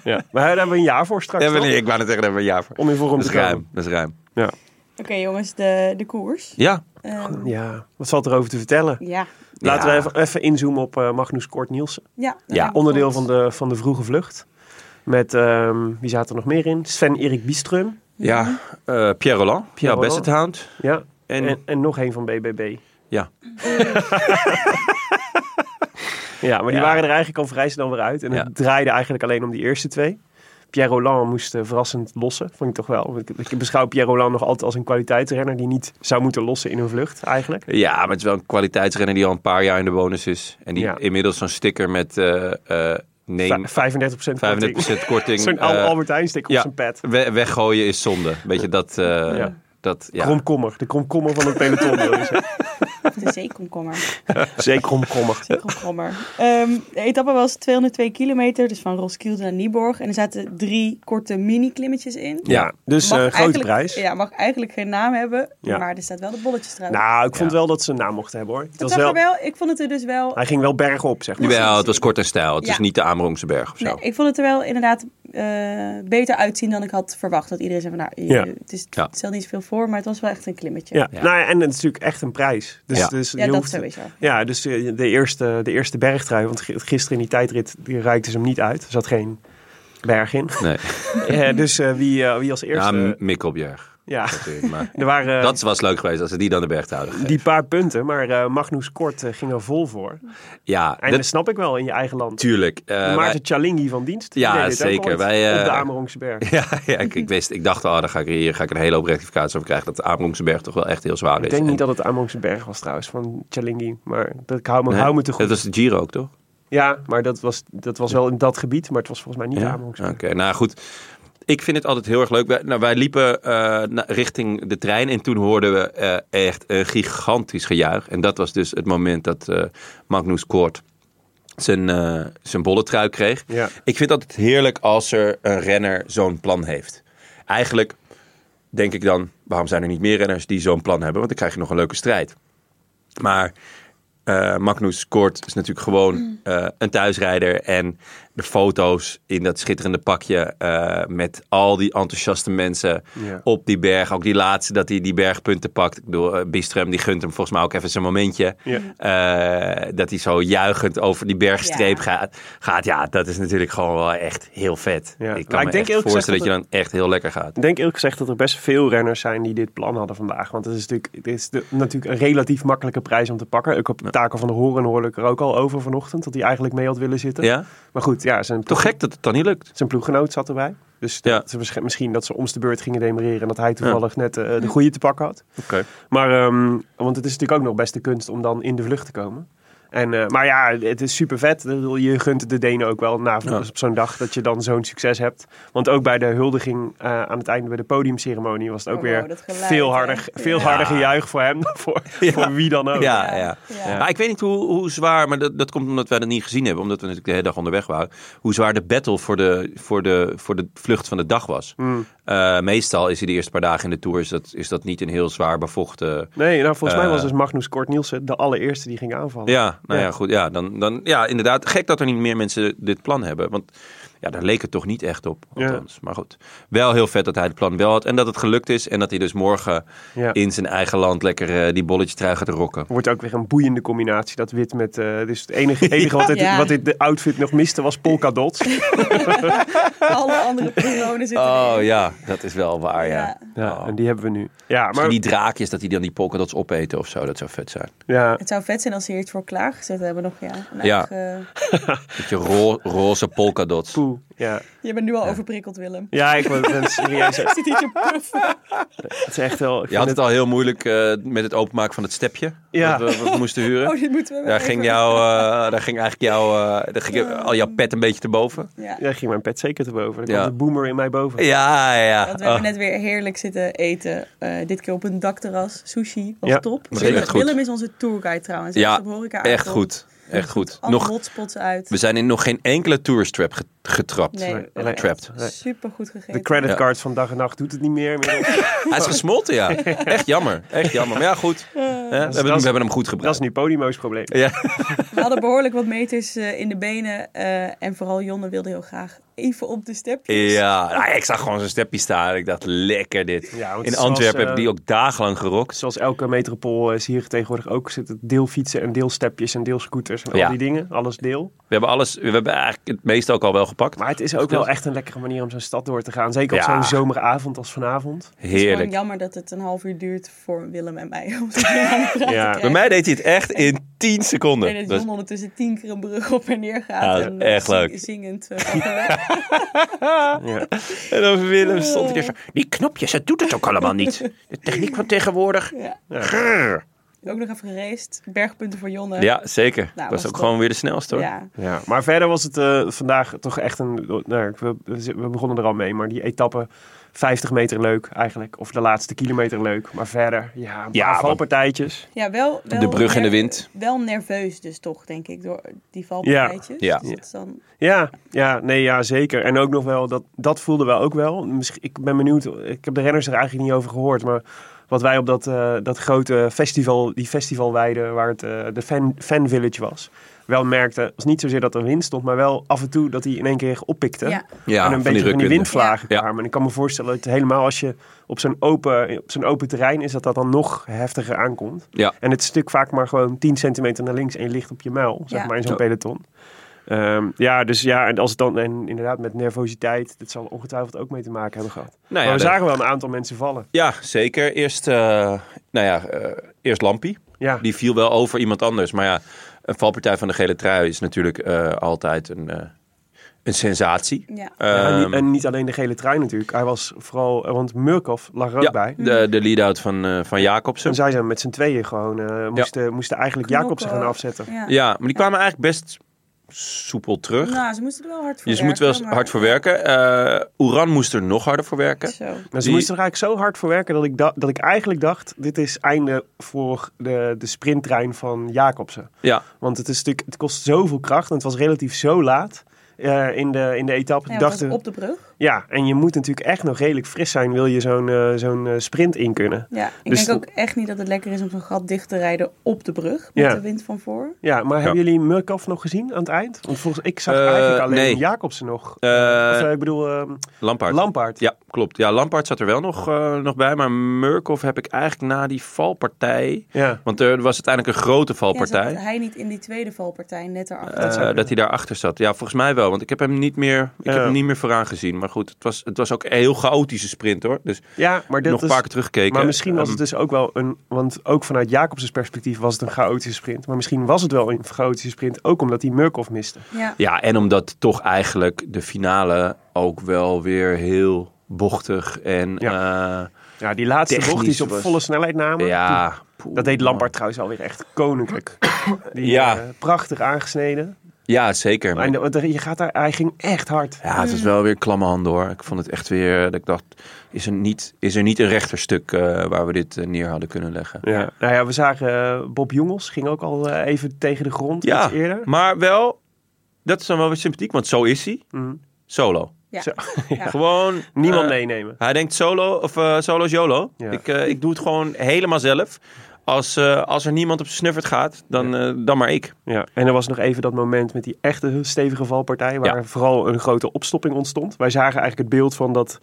Speaker 1: Maar daar hebben we een jaar voor straks.
Speaker 2: Ja, maar
Speaker 1: toch?
Speaker 2: nee, ik wou net zeggen, daar hebben we een jaar voor.
Speaker 1: Om in vorm
Speaker 2: Dat is
Speaker 1: te komen.
Speaker 2: ruim, dat is ruim.
Speaker 1: Ja.
Speaker 3: Oké jongens, de, de koers.
Speaker 2: Ja,
Speaker 3: Ehm,
Speaker 1: ja, wat valt erover te vertellen?
Speaker 3: ja.
Speaker 1: Laten
Speaker 2: Ja.
Speaker 1: we even, even inzoomen op eh, Magnus Kort Nielsen.
Speaker 3: Ja, dat
Speaker 2: Ja.
Speaker 3: lijkt me
Speaker 1: Onderdeel van
Speaker 3: goed.
Speaker 1: de, van de vroege vlucht. Met, ehm, wie zaten er nog meer in? Sven-Erik Bieström.
Speaker 2: ja. eh, Pierre Roland, Pierre
Speaker 1: Roland.
Speaker 2: Bessethound.
Speaker 1: Ja.
Speaker 2: En-
Speaker 1: En, en, nog één van BBB.
Speaker 2: Ja.
Speaker 1: Ja, maar die
Speaker 2: Ja.
Speaker 1: waren er eigenlijk al vrij snel weer uit. En
Speaker 2: Ja.
Speaker 1: het draaide eigenlijk alleen om die eerste twee. Pierre Roland moest eh, verrassend lossen. Vond ik toch wel. Want Ik, ik beschouw Pierre Roland nog altijd als een kwaliteitsrenner die niet zou moeten lossen in een vlucht eigenlijk.
Speaker 2: Ja, maar het is wel een kwaliteitsrenner die al een paar jaar in de bonus is. En die
Speaker 1: Ja.
Speaker 2: inmiddels zo'n sticker met eh, eh, neem
Speaker 1: Va- 35% korting.
Speaker 2: 35% korting.
Speaker 1: Zo'n oude
Speaker 2: eh,
Speaker 1: Albert Heijn stick op
Speaker 2: ja,
Speaker 1: zijn pet.
Speaker 2: we- weggooien is zonde. Weet je, dat... eh,
Speaker 1: Ja.
Speaker 2: dat ja.
Speaker 1: Kromkommer. De kromkommer van het peloton. wil je zeggen.
Speaker 3: De zeekomkommer.
Speaker 1: Zeker kromkommer.
Speaker 3: Zeekomkommer. Ehm, de etappe was 202 kilometer, dus van Roskilde naar Nieborg. En er zaten drie korte mini-klimmetjes in.
Speaker 2: Ja.
Speaker 1: Dus eh, grote
Speaker 3: eigenlijk-
Speaker 1: prijs.
Speaker 3: Ja, mag eigenlijk geen naam hebben,
Speaker 1: Ja.
Speaker 3: maar er staat wel de bolletjes trouwens.
Speaker 1: Nou, ik vond wel dat ze een naam mochten hebben hoor. Het
Speaker 3: dat
Speaker 1: was
Speaker 3: zag
Speaker 1: wel,
Speaker 3: er wel, ik vond het er dus wel...
Speaker 1: Hij ging wel bergop, zeg maar.
Speaker 2: Jawel, het was kort en stijl. Het
Speaker 3: Ja.
Speaker 2: is niet de Amerongse berg of zo.
Speaker 3: Nee, ik vond het er wel inderdaad eh, beter uitzien dan ik had verwacht. Dat iedereen zei van, nou, je-
Speaker 1: Ja.
Speaker 3: het, is,
Speaker 2: Ja.
Speaker 3: het stelt niet zoveel voor, maar het was wel echt een klimmetje.
Speaker 1: Ja. Nou, ja, en het is natuurlijk echt een prijs. Dus,
Speaker 2: Ja.
Speaker 1: dus
Speaker 3: Ja,
Speaker 1: je
Speaker 3: dat
Speaker 1: hoeft,
Speaker 3: sowieso.
Speaker 1: Ja, dus eh, de eerste, de eerste bergtrui, want gi- gisteren in die tijdrit die reikte ze hem niet uit. Er zat geen berg in.
Speaker 2: Nee.
Speaker 1: Eh, dus eh, wie, eh, wie als
Speaker 2: Ja,
Speaker 1: eerste...
Speaker 2: M- Mikkelbjerg.
Speaker 1: ja,
Speaker 2: natuurlijk, Maar
Speaker 1: er waren eh,
Speaker 2: dat was leuk geweest als ze die dan de berg te houden. gegeven.
Speaker 1: die paar punten, maar eh, Magnus Kort eh, ging er vol voor.
Speaker 2: Ja,
Speaker 1: En dat
Speaker 2: dat,
Speaker 1: snap ik wel in je eigen land.
Speaker 2: tuurlijk. Eh,
Speaker 1: De Maarten
Speaker 2: wij-
Speaker 1: Chalingi van dienst.
Speaker 2: Ja,
Speaker 1: die deed dit ook
Speaker 2: zeker.
Speaker 1: ooit
Speaker 2: Wij, eh,
Speaker 1: Op de Amerongse berg.
Speaker 2: Ja, ja ik, ik wist, ik dacht, oh, daar ga ik, hier ga ik een hele hoop rectificaties over krijgen. Dat de Amerongse berg toch wel echt heel zwaar is.
Speaker 1: Ik denk
Speaker 2: En-
Speaker 1: niet dat het Amerongse berg was trouwens, van Chalingi. Maar dat, ik hou me,
Speaker 2: Nee,
Speaker 1: hou me te goed.
Speaker 2: Dat was de Giro ook, toch?
Speaker 1: Ja, maar dat was, dat was wel in dat gebied, maar het was volgens mij niet
Speaker 2: Ja,
Speaker 1: Amerongse
Speaker 2: oké. Nou goed, ik vind het altijd heel erg leuk. Wij, nou, wij liepen eh, na- richting de trein en toen hoorden we eh, echt een gigantisch gejuich. En dat was dus het moment dat eh, Magnus Koort zijn, eh zijn bolletrui kreeg.
Speaker 1: Ja.
Speaker 2: Ik vind het altijd heerlijk als er een renner zo'n plan heeft. Eigenlijk denk ik dan, waarom zijn er niet meer renners die zo'n plan hebben? Want dan krijg je nog een leuke strijd. Maar eh, Magnus Kort is natuurlijk gewoon eh, een thuisrijder. En de foto's in dat schitterende pakje eh, met al die enthousiaste mensen
Speaker 1: Ja.
Speaker 2: op die berg. Ook die laatste dat hij die bergpunten pakt. Ik bedoel, eh, Bistrum die gunt hem volgens mij ook even zijn momentje.
Speaker 1: Ja.
Speaker 2: Eh, dat hij zo juichend over die bergstreep
Speaker 3: Ja.
Speaker 2: gaat, gaat. Ja, dat is natuurlijk gewoon wel echt heel vet.
Speaker 1: Ja.
Speaker 2: Ik
Speaker 1: Maar
Speaker 2: kan
Speaker 1: ik
Speaker 2: me echt
Speaker 1: denk eerlijk gezegd
Speaker 2: voorstellen dat,
Speaker 1: dat
Speaker 2: je dan echt heel lekker gaat.
Speaker 1: Ik denk eerlijk gezegd dat er best veel renners zijn die dit plan hadden vandaag. Want het is natuurlijk, het is de- natuurlijk een relatief makkelijke prijs om te pakken. Ook op Taco van de Horen hoorde ik er ook al over vanochtend, dat hij eigenlijk mee had willen zitten.
Speaker 2: Ja?
Speaker 1: Maar goed, ja, zijn,
Speaker 2: Toch gek dat het dan niet lukt.
Speaker 1: zijn ploeggenoot zat erbij. Dus
Speaker 2: Ja.
Speaker 1: dat ze waarsch- misschien dat ze om de beurt gingen demereren en dat hij toevallig net eh, de goede te pakken had.
Speaker 2: Oké.
Speaker 1: Maar, ehm, want het is natuurlijk ook nog best de kunst om dan in de vlucht te komen. En, eh, maar ja, het is super vet. Je gunt het de Denen ook wel na,
Speaker 2: Ja.
Speaker 1: op zo'n dag dat je dan zo'n succes hebt. Want ook bij de huldiging eh, aan het einde bij de podiumceremonie was het ook
Speaker 3: Oh,
Speaker 1: weer
Speaker 3: wow, dat geluid,
Speaker 1: veel,
Speaker 3: hè?
Speaker 1: harder,
Speaker 3: Ja.
Speaker 1: veel harder gejuich voor hem dan voor, voor wie dan ook.
Speaker 2: Ja, ja.
Speaker 3: Ja.
Speaker 2: Maar ik weet niet hoe, hoe zwaar, maar dat, dat komt omdat wij dat niet gezien hebben. Omdat we natuurlijk de hele dag onderweg waren. Hoe zwaar de battle voor de, voor de, voor de vlucht van de dag was. Eh, meestal is hij de eerste paar dagen in de Tour, is dat, is dat niet een heel zwaar bevochten...
Speaker 1: Nee, nou volgens mij was
Speaker 2: Eh.
Speaker 1: dus Magnus Kort Nielsen de allereerste die ging aanvallen.
Speaker 2: Ja, nou ja,
Speaker 1: Ja.
Speaker 2: goed. Ja, dan, dan, ja, inderdaad. Gek dat er niet meer mensen dit plan hebben. Want ja, daar leek het toch niet echt op.
Speaker 1: Ja.
Speaker 2: Althans. Maar goed. Wel heel vet dat hij het plan wel had. En dat het gelukt is. En dat hij dus morgen
Speaker 1: Ja.
Speaker 2: in zijn eigen land lekker eh, die bolletje trui gaat rocken.
Speaker 1: Wordt ook weer een boeiende combinatie, dat wit met... eh dus het enige, enige wat, dit,
Speaker 3: Ja.
Speaker 1: wat dit de outfit nog miste was polka dots.
Speaker 3: Alle andere ploeglonen zitten
Speaker 2: Oh
Speaker 3: erin.
Speaker 2: ja, dat is wel waar, ja.
Speaker 3: Ja.
Speaker 1: Ja, en die hebben we nu. Ja, maar...
Speaker 2: Misschien die draakjes, dat die dan die polkadots opeten of zo. Dat zou vet zijn.
Speaker 1: ja.
Speaker 3: Het zou vet zijn als ze hier iets voor klaargezet hebben nog, ja. Een
Speaker 2: Ja.
Speaker 3: eigen-
Speaker 2: Beetje ro roze polkadots.
Speaker 1: Poeh. Ja.
Speaker 3: Je bent nu al overprikkeld, Willem.
Speaker 1: Ja, ik ben serieus.
Speaker 3: Ik zit hier te puffen.
Speaker 1: Het is echt wel. ik
Speaker 2: Je had
Speaker 1: vind
Speaker 2: het al heel moeilijk eh, met het openmaken van het stepje.
Speaker 1: Ja.
Speaker 2: Dat we, wat we moesten huren.
Speaker 3: Oh, dit moeten we
Speaker 2: Daar
Speaker 3: even-
Speaker 2: ging, jou, eh, daar ging eigenlijk jou, eh, daar ging al jouw pet een beetje te boven.
Speaker 3: Ja.
Speaker 1: Daar ging mijn pet zeker te boven. Er
Speaker 2: Ja.
Speaker 1: kwam de boomer in mij boven.
Speaker 2: Ja, ja.
Speaker 3: Want we
Speaker 2: Oh,
Speaker 3: hebben net weer heerlijk zitten eten. Eh, dit keer op een dakterras. Sushi was
Speaker 1: Ja,
Speaker 3: top.
Speaker 2: zeker.
Speaker 3: Willem-
Speaker 2: Echt goed.
Speaker 3: Willem is onze tourguide trouwens. Hij
Speaker 2: ja,
Speaker 3: is op horeca
Speaker 2: echt
Speaker 3: aangekomen.
Speaker 2: goed. Echt goed.
Speaker 3: Alle
Speaker 2: Nog,
Speaker 3: hotspots uit.
Speaker 2: we zijn in nog geen enkele tourstrap ge- getrapt.
Speaker 3: Nee, we hebben
Speaker 2: Trapped.
Speaker 3: echt Super goed gegeten.
Speaker 1: De creditcard
Speaker 2: Ja.
Speaker 1: card van dag en nacht doet het niet meer. inmiddels.
Speaker 2: Hij is gesmolten, ja. Echt jammer. Echt jammer. Maar ja, goed. Eh, we, hebben,
Speaker 1: dat
Speaker 2: we
Speaker 1: is-
Speaker 2: hebben hem goed
Speaker 1: Dat
Speaker 2: gebruikt.
Speaker 1: is nu Podimo's probleem.
Speaker 2: Ja.
Speaker 3: We hadden behoorlijk wat meters eh, in de benen. eh, en vooral Jonne wilde heel graag even op de stepjes.
Speaker 2: Ja, nou, ik zag gewoon zo'n stepje staan. Ik dacht, lekker dit.
Speaker 1: Ja, want
Speaker 2: in
Speaker 1: zoals,
Speaker 2: Antwerpen
Speaker 1: eh,
Speaker 2: hebben die ook dagenlang gerokt.
Speaker 1: Zoals elke metropool eh, is hier tegenwoordig ook zitten deelfietsen en deelstepjes en deelscooters en
Speaker 2: Ja.
Speaker 1: al die dingen. Alles deel.
Speaker 2: We hebben alles, we hebben eigenlijk het meeste ook al wel gepakt.
Speaker 1: Maar het is ook wel echt een lekkere manier om zo'n stad door te gaan. Zeker op
Speaker 2: Ja.
Speaker 1: zo'n zomeravond als vanavond.
Speaker 3: Het is gewoon
Speaker 2: Heerlijk.
Speaker 3: jammer dat het een half uur duurt voor Willem en mij. Om te aan
Speaker 1: Ja.
Speaker 3: de praat te
Speaker 2: Bij
Speaker 3: krijgen.
Speaker 2: mij deed hij het echt in 10
Speaker 3: En
Speaker 2: seconden.
Speaker 3: dat
Speaker 2: Dus-
Speaker 3: Jonne ondertussen tien keer een brug op en neer
Speaker 2: Ja,
Speaker 3: gaat.
Speaker 2: dat is
Speaker 3: en
Speaker 2: echt
Speaker 3: zing-
Speaker 2: leuk.
Speaker 3: Zingend. eh, van de weg.
Speaker 1: Ja.
Speaker 2: En dan Willem
Speaker 1: Oh.
Speaker 2: stond hij er zo. Die knopjes, het doet het ook allemaal niet. De techniek van tegenwoordig.
Speaker 3: Ja.
Speaker 2: Grrr.
Speaker 3: Ook nog even geraced. Bergpunten voor Jonne.
Speaker 2: Ja, zeker.
Speaker 3: was
Speaker 2: was ook
Speaker 3: top.
Speaker 2: gewoon weer de snelste hoor.
Speaker 3: Ja.
Speaker 1: Nou, Ja, maar verder was het eh, vandaag toch echt een. Nou, ik- we, we begonnen er al mee, maar die etappe 50 meter leuk eigenlijk. Of de laatste kilometer leuk. Maar verder, ja, een
Speaker 2: Ja,
Speaker 1: paar
Speaker 2: want-
Speaker 1: valpartijtjes.
Speaker 3: Ja, wel, wel
Speaker 2: De brug in de
Speaker 3: nerve-
Speaker 2: wind.
Speaker 3: Wel nerveus dus toch, denk ik, door die valpartijtjes.
Speaker 2: Ja.
Speaker 3: Dus dat is dan,
Speaker 1: Ja, ja, nee, ja, zeker. En ook nog wel, dat, dat voelde wel ook wel. Misschien, ik ben benieuwd, ik heb de renners er eigenlijk niet over gehoord, maar wat wij op dat, eh, dat grote festival, die festivalweide waar het eh, de fan, fan Village was, wel merkten, was niet zozeer dat er wind stond, maar wel af en toe dat hij in één keer oppikte.
Speaker 3: ja.
Speaker 2: Ja,
Speaker 1: en een beetje van die windvlagen
Speaker 2: Ja.
Speaker 1: kwamen. En ik kan me voorstellen dat helemaal als je op zo'n open, op zo'n open terrein is, dat dat dan nog heftiger aankomt.
Speaker 2: Ja.
Speaker 1: En het stuk vaak maar gewoon 10 centimeter naar links en je ligt op je muil, zeg
Speaker 3: Ja.
Speaker 1: maar, in zo'n
Speaker 2: Ja.
Speaker 1: peloton. Ehm, ja, dus ja, en als het dan en inderdaad met nervositeit, dat zal ongetwijfeld ook mee te maken hebben gehad.
Speaker 2: Nou ja,
Speaker 1: maar we
Speaker 2: dat-
Speaker 1: zagen wel een aantal mensen vallen.
Speaker 2: Ja, zeker. Eerst, eh, nou ja, eh, eerst Lampie.
Speaker 1: Ja,
Speaker 2: Die viel wel over iemand anders. Maar ja, een valpartij van de gele trui is natuurlijk eh, altijd een, eh, een sensatie.
Speaker 3: Ja.
Speaker 1: Ja, en,
Speaker 2: Ehm,
Speaker 1: niet, en niet alleen de gele trein natuurlijk. Hij was vooral, want Murkoff lag er ook
Speaker 2: ja,
Speaker 1: bij.
Speaker 2: de, de lead-out van, eh, van Jacobsen.
Speaker 1: En zij zijn met z'n tweeën gewoon, eh, moesten, moesten eigenlijk Jacobsen gaan
Speaker 3: knokken.
Speaker 1: afzetten.
Speaker 3: Ja.
Speaker 2: Ja, maar die kwamen eigenlijk best soepel terug.
Speaker 3: Nou, ze moesten er wel hard voor
Speaker 2: dus je moet
Speaker 3: werken,
Speaker 2: wel eens
Speaker 3: maar-
Speaker 2: hard voor werken. Eh Oeran moest er nog harder voor werken.
Speaker 3: Zo.
Speaker 1: Nou, ze
Speaker 2: Die-
Speaker 1: moesten er eigenlijk zo hard voor werken dat ik, da- dat ik eigenlijk dacht: dit is einde voor de, de sprinttrein van Jacobsen.
Speaker 2: Ja,
Speaker 1: Want het, is natuurlijk, het kost zoveel kracht en het was relatief zo laat eh, in, de, in de etappe.
Speaker 3: Ja,
Speaker 1: Ik
Speaker 3: want
Speaker 1: dacht,
Speaker 3: dat was op de brug.
Speaker 1: ja, en je moet natuurlijk echt nog redelijk fris zijn, wil je zo'n eh, zo'n eh, sprint in kunnen.
Speaker 3: Ja, ik
Speaker 1: Dus-
Speaker 3: denk ook echt niet dat het lekker is om zo'n gat dicht te rijden op de brug. Met
Speaker 1: Ja.
Speaker 3: de wind van voor.
Speaker 1: Ja, maar hebben jullie Murkoff nog gezien aan het eind? Want volgens ik zag eigenlijk
Speaker 2: Eh,
Speaker 1: alleen
Speaker 2: nee.
Speaker 1: Jacobsen nog.
Speaker 2: Eh,
Speaker 1: Of, eh, ik bedoel, eh,
Speaker 2: Lampaard.
Speaker 1: Lampaard.
Speaker 2: Ja, klopt. Ja, Lampaard zat er wel nog, eh, nog bij. Maar Murkoff heb ik eigenlijk na die valpartij...
Speaker 1: Ja.
Speaker 2: Want er was uiteindelijk een grote
Speaker 3: Ja,
Speaker 2: valpartij.
Speaker 3: zat hij niet in die tweede valpartij net daarachter.
Speaker 2: Eh, dat hij daarachter zat. Ja, volgens mij wel. Want ik heb hem niet meer, ik
Speaker 1: Ja.
Speaker 2: heb hem niet meer vooraan gezien. Maar goed, het was, het was ook een heel chaotische sprint hoor. Dus
Speaker 1: ja, maar dit
Speaker 2: nog een
Speaker 1: is-
Speaker 2: paar keer teruggekeken.
Speaker 1: Maar misschien was
Speaker 2: Ehm,
Speaker 1: het dus ook wel een. Want ook vanuit Jacobs' perspectief was het een chaotische sprint. Maar misschien was het wel een chaotische sprint. Ook omdat hij Murkoff miste.
Speaker 3: Ja.
Speaker 2: Ehm, Ja, en omdat toch eigenlijk de finale ook wel weer heel bochtig en... Ja,
Speaker 1: Ja, die laatste
Speaker 2: Technisch
Speaker 1: bocht die ze op
Speaker 2: was-
Speaker 1: volle snelheid namen.
Speaker 2: ja poeh,
Speaker 1: Dat deed
Speaker 2: man.
Speaker 1: Lampard trouwens alweer echt koninklijk. Die,
Speaker 2: Ja.
Speaker 1: eh, prachtig aangesneden.
Speaker 2: Ja, zeker.
Speaker 1: En, want er- je gaat daar, hij ging echt hard.
Speaker 2: Ja, het is wel weer klamme handen hoor. Ik vond het echt weer, dat ik dacht, is er niet, is er niet een rechterstuk eh, waar we dit eh, neer hadden kunnen leggen?
Speaker 1: Ja. Nou ja, we zagen eh, Bob Jongels ging ook al eh, even tegen de grond
Speaker 2: Ja,
Speaker 1: iets eerder.
Speaker 2: maar wel, dat is dan wel weer sympathiek, want zo is hij.
Speaker 1: Mhm.
Speaker 2: Solo.
Speaker 3: Ja.
Speaker 1: Zo.
Speaker 3: Ja.
Speaker 2: Gewoon.
Speaker 1: Niemand
Speaker 2: eh,
Speaker 1: meenemen.
Speaker 2: Hij denkt solo, of eh solo is YOLO.
Speaker 1: Ja.
Speaker 2: Ik, eh, ik doe het gewoon helemaal zelf. Als, eh, als er niemand op snuffert gaat, dan, eh, dan maar ik.
Speaker 1: Ja, en er was nog even dat moment met die echte stevige valpartij, waar
Speaker 2: Ja.
Speaker 1: vooral een grote opstopping ontstond. Wij zagen eigenlijk het beeld van dat,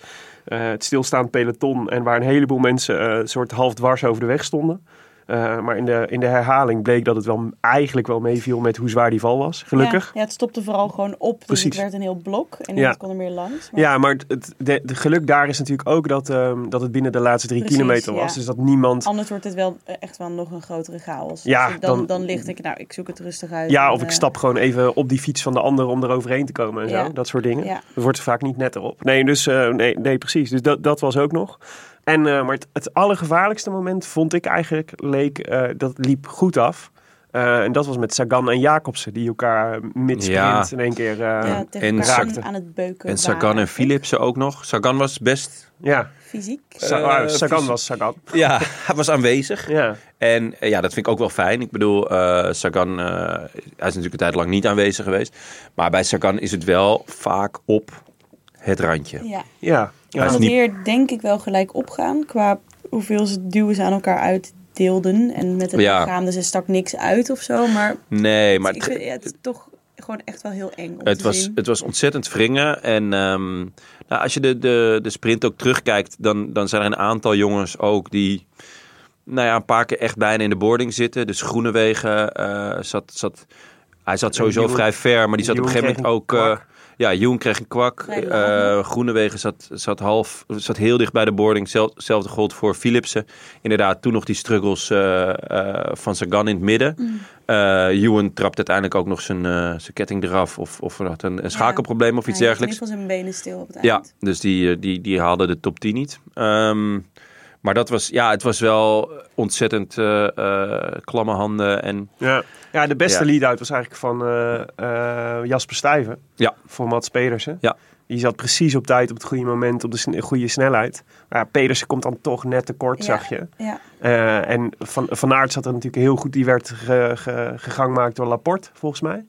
Speaker 1: eh, het stilstaand peloton en waar een heleboel mensen eh, een soort half dwars over de weg stonden. Eh, maar in de, in de herhaling bleek dat het wel eigenlijk wel meeviel met hoe zwaar die val was, gelukkig.
Speaker 3: Ja, ja, het stopte vooral gewoon op. Dus
Speaker 1: Precies.
Speaker 3: het werd een heel blok. En
Speaker 1: Ja.
Speaker 3: niemand kon er meer langs. Maar
Speaker 1: Ja, maar het, het de, de geluk daar is natuurlijk ook dat, ehm, dat het binnen de laatste drie
Speaker 3: Precies,
Speaker 1: kilometer was.
Speaker 3: ja.
Speaker 1: Dus dat niemand...
Speaker 3: anders wordt het wel eh, echt wel nog een grotere chaos.
Speaker 1: Ja,
Speaker 3: Dus dan,
Speaker 1: dan-
Speaker 3: dan, ligt ik, nou, ik zoek het rustig uit.
Speaker 1: Ja,
Speaker 3: en,
Speaker 1: of ik
Speaker 3: eh,
Speaker 1: stap gewoon even op die fiets van de ander om er overheen te komen en
Speaker 3: Ja.
Speaker 1: zo. Dat soort dingen.
Speaker 3: Ja.
Speaker 1: Dat wordt er vaak niet netter op. Nee, dus, eh, nee, nee precies. Dus dat, dat was ook nog. En, eh, maar het, het allergevaarlijkste moment vond ik eigenlijk, leek, eh, dat liep goed af. Eh, en dat was met Sagan en Jacobsen, die elkaar eh, mid-sprint
Speaker 2: Ja.
Speaker 1: in één keer... eh,
Speaker 3: Ja,
Speaker 1: ja.
Speaker 3: tegen
Speaker 2: en
Speaker 3: elkaar
Speaker 1: raakte.
Speaker 3: aan, aan het beuken.
Speaker 2: En Sagan
Speaker 3: waren.
Speaker 2: en Philipsen ook nog. Sagan was best.
Speaker 3: Fysiek.
Speaker 1: Sa-
Speaker 2: Eh,
Speaker 1: ah, Sagan
Speaker 2: precies.
Speaker 1: was Sagan.
Speaker 2: Ja, hij was aanwezig.
Speaker 1: Ja.
Speaker 2: En eh, ja, dat vind ik ook wel fijn. Ik bedoel, eh, Sagan, eh, hij is natuurlijk een tijd lang niet aanwezig geweest. Maar bij Sagan is het wel vaak op het randje.
Speaker 3: Ja.
Speaker 1: Ja.
Speaker 2: Hij is
Speaker 3: Dat
Speaker 2: niet-
Speaker 3: weer denk ik wel gelijk opgaan qua hoeveel ze duwen ze aan elkaar uitdeelden. En met het
Speaker 2: Ja.
Speaker 3: lichaam, dus er stak niks uit of zo. Maar,
Speaker 2: Nee, maar
Speaker 3: ik
Speaker 2: het-
Speaker 3: vind het toch gewoon echt wel heel eng om
Speaker 2: Het
Speaker 3: te
Speaker 2: was,
Speaker 3: zien.
Speaker 2: het was ontzettend wringen. En ehm, nou, als je de, de, de sprint ook terugkijkt, dan, dan zijn er een aantal jongens ook die nou ja, een paar keer echt bijna in de boarding zitten. Dus Groenewegen eh, zat, zat, hij zat sowieso
Speaker 1: Jeroen-
Speaker 2: vrij ver, maar die zat op een
Speaker 1: Jeroen
Speaker 2: gegeven moment
Speaker 1: kreeg
Speaker 2: ook...
Speaker 1: een
Speaker 2: eh,
Speaker 1: kwak.
Speaker 2: Ja, Joen kreeg een kwak.
Speaker 3: Nee,
Speaker 2: Eh,
Speaker 3: laat
Speaker 2: Groenewegen zat, zat, half, zat heel dicht bij de boarding. Zelf, hetzelfde gold voor Philipsen. Inderdaad, toen nog die struggles eh, eh, van Sagan in het midden. Eh Ewan trapt uiteindelijk ook nog zijn, eh, zijn ketting eraf. Of, of had een, een schakelprobleem of iets
Speaker 3: Hij
Speaker 2: dergelijks.
Speaker 3: heeft in ieder geval zijn benen stil op het eind.
Speaker 2: Ja, dus die, eh, die, die haalden de top 10 niet. Ehm, maar dat was, ja, het was wel ontzettend eh, eh, klamme handen. En
Speaker 1: Ja. ja, de beste
Speaker 2: Ja.
Speaker 1: lead-out was eigenlijk van eh, eh, Jasper Stuyven.
Speaker 2: Ja.
Speaker 1: Voor Mats Pedersen.
Speaker 2: Ja.
Speaker 1: Die zat precies op tijd, op het goede moment, op de sne- goede snelheid. Maar ja, Pedersen komt dan toch net tekort,
Speaker 3: Ja.
Speaker 1: zag je.
Speaker 3: Ja.
Speaker 1: Eh, en van, van Aert zat er natuurlijk heel goed. Die werd ge, ge- gegangmaakt door Laporte, volgens mij.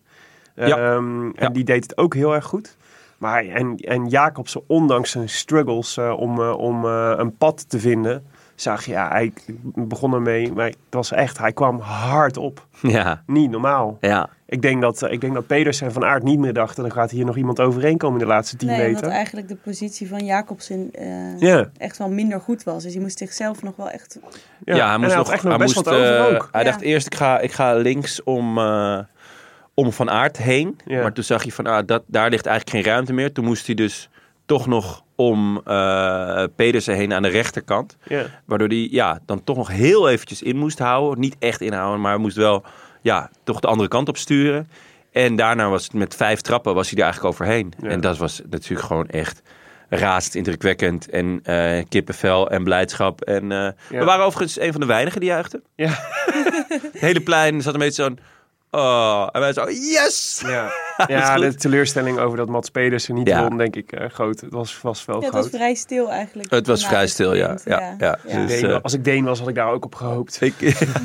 Speaker 2: Ja.
Speaker 1: Ehm, En
Speaker 2: Ja.
Speaker 1: die deed het ook heel erg goed. Maar en, en Jacobsen, ondanks zijn struggles eh, om, eh, om eh, een pad te vinden, zag je, ja, hij begon ermee, maar het was echt, hij kwam hard op.
Speaker 2: ja,
Speaker 1: Niet normaal.
Speaker 2: ja.
Speaker 1: Ik denk dat, eh, ik denk dat Pedersen en Van Aert niet meer dachten, dan gaat hier nog iemand overheen komen in de laatste 10
Speaker 3: Nee, omdat
Speaker 1: meter.
Speaker 3: eigenlijk de positie van Jacobsen eh,
Speaker 1: Ja.
Speaker 3: echt wel minder goed was. Dus hij moest zichzelf nog wel echt...
Speaker 2: Ja, hij
Speaker 1: En
Speaker 2: moest
Speaker 1: had
Speaker 2: nog,
Speaker 1: echt nog
Speaker 2: hij
Speaker 1: best
Speaker 2: moest,
Speaker 1: wat over
Speaker 2: eh,
Speaker 1: ook.
Speaker 2: Hij
Speaker 3: Ja.
Speaker 2: dacht eerst, ik ga, ik ga links om, eh, om Van Aert heen.
Speaker 1: Ja.
Speaker 2: Maar toen zag je van, ah, dat, daar ligt eigenlijk geen ruimte meer. Toen moest hij dus toch nog om eh, Pedersen heen aan de rechterkant.
Speaker 1: Ja.
Speaker 2: Waardoor hij ja, dan toch nog heel eventjes in moest houden. Niet echt inhouden, maar hij moest wel ja, toch de andere kant op sturen. En daarna was het met vijf trappen was hij er eigenlijk overheen.
Speaker 1: Ja.
Speaker 2: En dat was natuurlijk gewoon echt razend indrukwekkend. En eh, kippenvel en blijdschap. En, eh, We waren overigens een van de weinigen die juichten.
Speaker 1: Ja.
Speaker 2: Het hele plein zat een beetje zo'n... Oh, en wij zo, yes!
Speaker 1: Ja,
Speaker 2: is
Speaker 1: ja
Speaker 2: goed.
Speaker 1: de teleurstelling over dat Mats Pedersen niet
Speaker 2: Ja.
Speaker 1: won, denk ik, eh, groot. Het was, was wel
Speaker 3: Ja, het
Speaker 1: groot.
Speaker 3: was vrij stil eigenlijk.
Speaker 2: Het was
Speaker 3: Na
Speaker 2: vrij
Speaker 3: het
Speaker 2: stil, ja.
Speaker 3: sprint,
Speaker 2: ja, ja.
Speaker 1: Als ik
Speaker 2: Dus,
Speaker 1: Deen
Speaker 2: eh,
Speaker 1: wa- als ik Deen was, had ik daar ook op gehoopt.
Speaker 2: ik,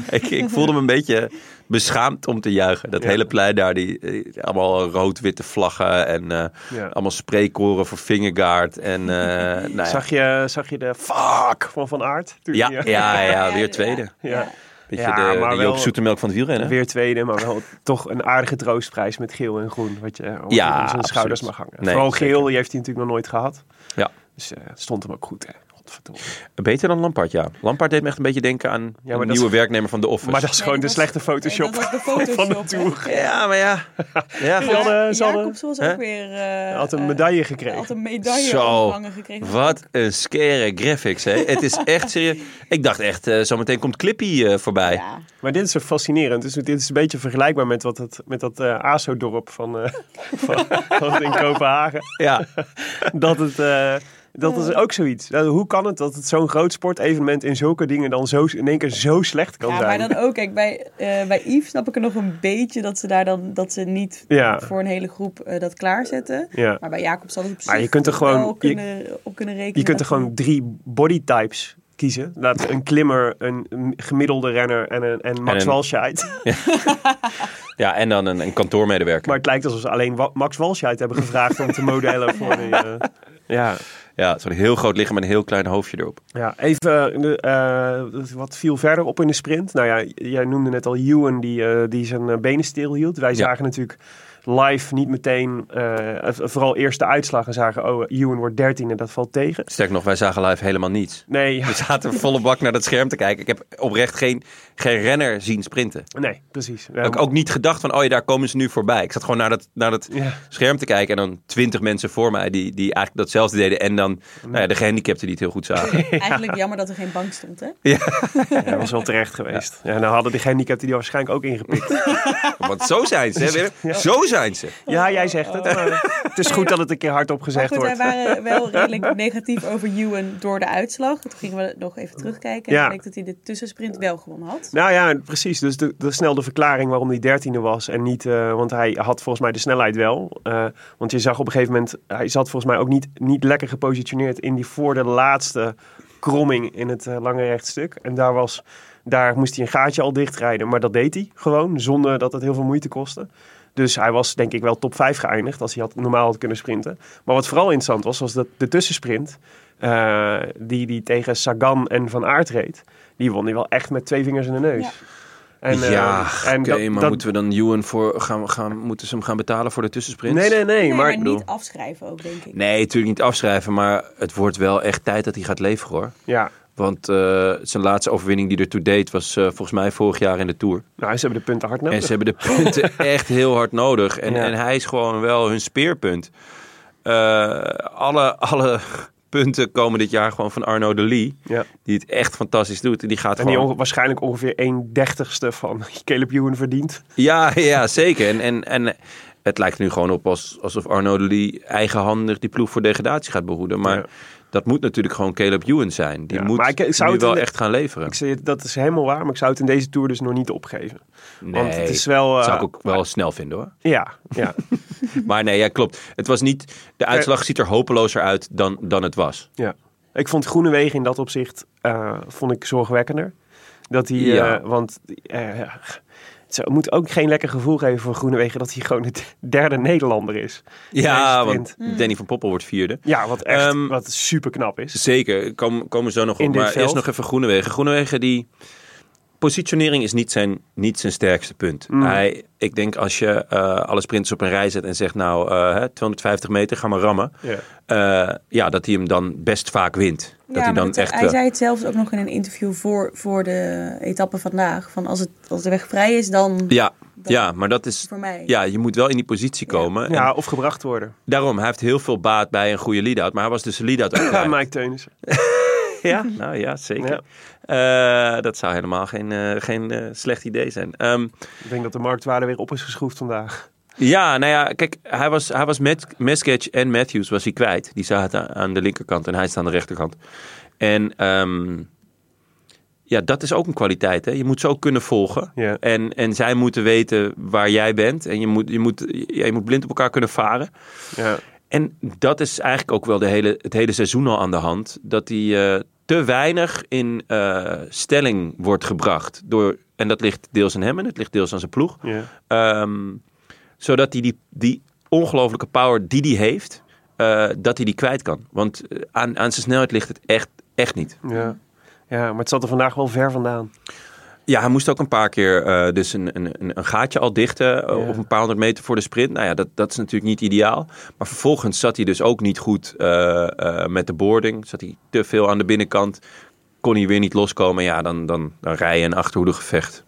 Speaker 2: ik, ik voelde me een beetje beschaamd om te juichen. Dat
Speaker 1: Ja.
Speaker 2: hele plein daar, die, eh, allemaal rood-witte vlaggen en eh,
Speaker 1: Ja.
Speaker 2: allemaal spreekkoren voor Fingergaard. En, eh, nou ja.
Speaker 1: Zag, je, zag je de fuck van Van Aert? Toen
Speaker 2: Ja,
Speaker 1: die,
Speaker 2: ja,
Speaker 1: eh,
Speaker 2: ja,
Speaker 3: Ja,
Speaker 2: weer
Speaker 3: ja.
Speaker 2: tweede.
Speaker 1: ja.
Speaker 2: Beetje
Speaker 1: Ja,
Speaker 2: de,
Speaker 1: maar
Speaker 2: de
Speaker 1: wel-
Speaker 2: Joop Zoetemelk van het wielrennen.
Speaker 1: Weer tweede, maar wel toch een aardige troostprijs met geel en groen. Wat je eh, op
Speaker 2: Ja,
Speaker 1: zijn schouders
Speaker 2: absoluut.
Speaker 1: mag hangen.
Speaker 2: Nee,
Speaker 1: Vooral
Speaker 2: zeker.
Speaker 1: geel, die heeft hij natuurlijk nog nooit gehad.
Speaker 2: Ja.
Speaker 1: Dus eh, het stond hem ook goed, hè. Godverdomme.
Speaker 2: Beter dan Lampard, ja. Lampard deed me echt een beetje denken aan
Speaker 1: maar
Speaker 2: de
Speaker 1: dat is-
Speaker 2: nieuwe werknemer van de Office.
Speaker 1: Maar dat is
Speaker 3: Nee,
Speaker 1: gewoon
Speaker 3: dat
Speaker 1: de
Speaker 3: was-
Speaker 1: slechte
Speaker 3: Nee,
Speaker 1: Photoshop.
Speaker 3: dat was de
Speaker 1: van de
Speaker 3: Photoshop. hè.
Speaker 1: Tour.
Speaker 2: Ja, maar ja. ja.
Speaker 3: Maar
Speaker 1: Ze hadden- ze hadden-
Speaker 3: Jacobsen was
Speaker 2: Hè?
Speaker 3: ook weer... eh,
Speaker 1: Had een
Speaker 3: eh,
Speaker 1: medaille gekregen.
Speaker 3: Had een medaille
Speaker 2: Zo.
Speaker 3: ontvangen gekregen.
Speaker 2: Wat een scare graphics, hè. Het is echt serieus. Ik dacht echt, eh, zometeen komt Clippy eh, voorbij.
Speaker 3: Ja.
Speaker 1: Maar dit is zo fascinerend. Dus dit is een beetje vergelijkbaar met, wat het, met dat eh ASO-dorp van, eh, van, van in Kopenhagen.
Speaker 2: Ja.
Speaker 1: dat het. eh, dat is ook zoiets. Nou, Hoe kan het dat het zo'n groot sportevenement in zulke dingen dan zo, in één keer zo slecht kan
Speaker 3: Ja, maar
Speaker 1: zijn?
Speaker 3: dan ook, kijk, bij, eh, bij Yves snap ik er nog een beetje dat ze daar dan, dat ze niet
Speaker 1: Ja.
Speaker 3: voor een hele groep eh, dat klaarzetten.
Speaker 1: Ja.
Speaker 3: Maar bij Jacob zal het op zich
Speaker 1: Maar je kunt er
Speaker 3: wel
Speaker 1: gewoon- je-
Speaker 3: kunnen, op kunnen rekenen.
Speaker 1: Je kunt er
Speaker 3: dat-
Speaker 1: gewoon drie bodytypes kiezen. Laat een klimmer, een gemiddelde renner en, een, en Max
Speaker 2: En een-
Speaker 1: Walscheid.
Speaker 2: Ja, en dan een, een kantoormedewerker.
Speaker 1: Maar het lijkt alsof ze alleen Wa- Max Walscheid hebben gevraagd om te modellen voor die, eh, ja.
Speaker 2: Ja, zo'n heel groot lichaam en een heel klein hoofdje erop.
Speaker 1: Ja, even eh, de, eh, wat viel verder op in de sprint. Nou ja, jij noemde net al Ewan die, eh, die zijn eh, benen stil hield. Wij
Speaker 2: Ja.
Speaker 1: zagen natuurlijk live niet meteen, eh, eh, vooral eerst de uitslag en zagen, oh, Ewan wordt dertiende, dat valt tegen.
Speaker 2: Sterk nog, wij zagen live helemaal niets.
Speaker 1: Nee, ja,
Speaker 2: We zaten volle bak naar dat scherm te kijken. Ik heb oprecht geen, geen renner zien sprinten.
Speaker 1: nee, precies. Ja,
Speaker 2: Ook, ook niet gedacht van, oh ja, daar komen ze nu voorbij. Ik zat gewoon naar dat, naar dat
Speaker 1: Ja.
Speaker 2: scherm te kijken. En dan twintig mensen voor mij die, die eigenlijk datzelfde deden. En dan nou ja, de gehandicapten die het heel goed zagen.
Speaker 3: Eigenlijk jammer dat er geen bank stond, hè?
Speaker 1: ja, dat was wel terecht geweest. Ja, nou hadden die gehandicapten die waarschijnlijk ook ingepikt.
Speaker 2: Want zo zijn ze, hè, Willem? Zo zijn ze.
Speaker 1: Ja, jij zegt het. maar het is goed dat het een keer hardop
Speaker 3: Maar
Speaker 1: gezegd
Speaker 3: goed, wij
Speaker 1: wordt.
Speaker 3: waren wel redelijk negatief over Ewan door de uitslag. Toen gingen we nog even terugkijken. En
Speaker 1: Ja.
Speaker 3: ik bleek dat hij de tussensprint wel gewonnen had.
Speaker 1: Nou ja, precies. Dus de, de snel de verklaring waarom hij dertiende was en niet... eh, want hij had volgens mij de snelheid wel. Eh, want je zag op een gegeven moment... Hij zat volgens mij ook niet, niet lekker gepositioneerd in die voor de laatste kromming in het eh, lange rechtstuk. En daar, was, daar moest hij een gaatje al dichtrijden. Maar dat deed hij gewoon, zonder dat het heel veel moeite kostte. Dus hij was denk ik wel top 5 geëindigd als hij had, normaal had kunnen sprinten. Maar wat vooral interessant was, was dat de tussensprint... eh, die, die tegen Sagan en Van Aert reed... Die won die wel echt met twee vingers in de neus.
Speaker 3: Ja.
Speaker 1: En, eh,
Speaker 2: oké,
Speaker 1: dat- dat-
Speaker 2: we dan Ewan voor gaan, gaan, moeten ze hem gaan betalen voor de tussensprints?
Speaker 1: Nee, nee, nee.
Speaker 3: Nee,
Speaker 1: maar
Speaker 3: maar,
Speaker 1: ik bedoel-
Speaker 3: niet afschrijven ook, denk ik.
Speaker 2: Nee, natuurlijk niet afschrijven, maar het wordt wel echt tijd dat hij gaat leveren hoor.
Speaker 1: Ja,
Speaker 2: Want eh, zijn laatste overwinning die ertoe deed was eh, volgens mij vorig jaar in de Tour.
Speaker 1: Nou, ze hebben de punten hard
Speaker 2: En
Speaker 1: nodig.
Speaker 2: ze hebben de punten echt heel hard nodig. En,
Speaker 1: Ja.
Speaker 2: en hij is gewoon wel hun speerpunt. Eh, alle, alle punten komen dit jaar gewoon van Arno de Lee.
Speaker 1: Ja.
Speaker 2: Die het echt fantastisch doet. En die gaat
Speaker 1: En die
Speaker 2: gewoon...
Speaker 1: onge- waarschijnlijk ongeveer 1 dertigste van Caleb Ewan verdient.
Speaker 2: Ja, ja, zeker. En, en, en het lijkt nu gewoon op als, alsof Arno de Lee eigenhandig die ploeg voor degradatie gaat behoeden. Maar
Speaker 1: Ja.
Speaker 2: dat moet natuurlijk gewoon Caleb Ewan zijn. Die
Speaker 1: Ja,
Speaker 2: moet
Speaker 1: maar ik- ik zou
Speaker 2: nu
Speaker 1: het
Speaker 2: wel
Speaker 1: in-
Speaker 2: echt gaan leveren.
Speaker 1: Ik zei, dat is helemaal waar, maar ik zou het in deze Tour dus nog niet opgeven. Want het is wel... eh,
Speaker 2: dat zou ik ook wel snel vinden hoor.
Speaker 1: Ja, ja.
Speaker 2: Maar nee, ja, klopt. Het was niet,
Speaker 1: Eh,
Speaker 2: de uitslag ziet er hopelozer uit dan, dan het was.
Speaker 1: Ja. Ik vond Groenewegen in dat opzicht eh, vond ik zorgwekkender. Dat hij, eh,
Speaker 2: Ja.
Speaker 1: want eh, het zou- moet ook geen lekker gevoel geven voor Groenewegen dat hij gewoon het derde Nederlander is.
Speaker 2: Ja,
Speaker 1: Deze
Speaker 2: want
Speaker 1: sprint.
Speaker 2: Danny van Poppel wordt vierde.
Speaker 1: Ja, wat echt
Speaker 2: Ehm,
Speaker 1: wat super knap is.
Speaker 2: Zeker, komen, komen we zo nog
Speaker 1: In
Speaker 2: op.
Speaker 1: dit
Speaker 2: Maar eerst
Speaker 1: veld?
Speaker 2: nog even Groenewegen. Groenewegen, die positionering is niet zijn, niet zijn sterkste punt. Hij, ik denk als je eh, alle sprinters op een rij zet en zegt nou eh, hè, 250 meter, ga maar rammen.
Speaker 1: Ja.
Speaker 2: Eh, ja, dat hij hem dan best vaak wint. dat hij
Speaker 3: maar
Speaker 2: dan
Speaker 3: dat-
Speaker 2: echt... eh,
Speaker 3: hij
Speaker 2: wel-
Speaker 3: zei het zelfs ook nog in een interview voor, voor de etappe vandaag. Van als, het, als de weg vrij is, dan
Speaker 2: ja,
Speaker 3: dat-
Speaker 2: ja, maar dat is...
Speaker 3: voor mij.
Speaker 2: Ja, je moet wel in die positie komen. En
Speaker 1: Ja, of gebracht worden.
Speaker 2: Daarom, hij heeft heel veel baat bij een goede lead-out. Maar hij was dus een lead-out ook
Speaker 1: Ja,
Speaker 2: kwijt.
Speaker 1: Mike Teunissen.
Speaker 2: Ja, nou ja, zeker. Eh, dat zou helemaal geen, eh, geen eh, slecht idee zijn. Ehm,
Speaker 1: Ik denk dat de marktwaarde weer op is geschroefd vandaag.
Speaker 2: ja, nou ja, kijk, hij was, hij was met Mesketch en Matthews was hij kwijt. Die zaten aan de linkerkant en hij staat aan de rechterkant. En ehm, ja, dat is ook een kwaliteit. Hè? Je moet ze ook kunnen volgen.
Speaker 1: Ja.
Speaker 2: En, en zij moeten weten waar jij bent. En je moet, je, moet, ja, je moet blind op elkaar kunnen varen.
Speaker 1: Ja.
Speaker 2: En dat is eigenlijk ook wel de hele, het hele seizoen al aan de hand. Dat hij eh, te weinig in eh, stelling wordt gebracht. Door, en dat ligt deels aan hem en het ligt deels aan zijn ploeg.
Speaker 1: Ja.
Speaker 2: Ehm, zodat hij die, die ongelofelijke power die hij heeft, eh, dat hij die kwijt kan. Want eh, aan, aan zijn snelheid ligt het echt, echt niet.
Speaker 1: Ja. ja, maar het zat er vandaag wel ver vandaan.
Speaker 2: Ja, hij moest ook een paar keer eh, dus een, een, een, een gaatje al dichten eh,
Speaker 1: Ja.
Speaker 2: op een paar honderd meter voor de sprint. Nou ja, dat, dat is natuurlijk niet ideaal. Maar vervolgens zat hij dus ook niet goed eh, eh, met de boarding. Zat hij te veel aan de binnenkant. Kon hij weer niet loskomen. Ja, dan, dan, dan rij je een achterhoedegevecht.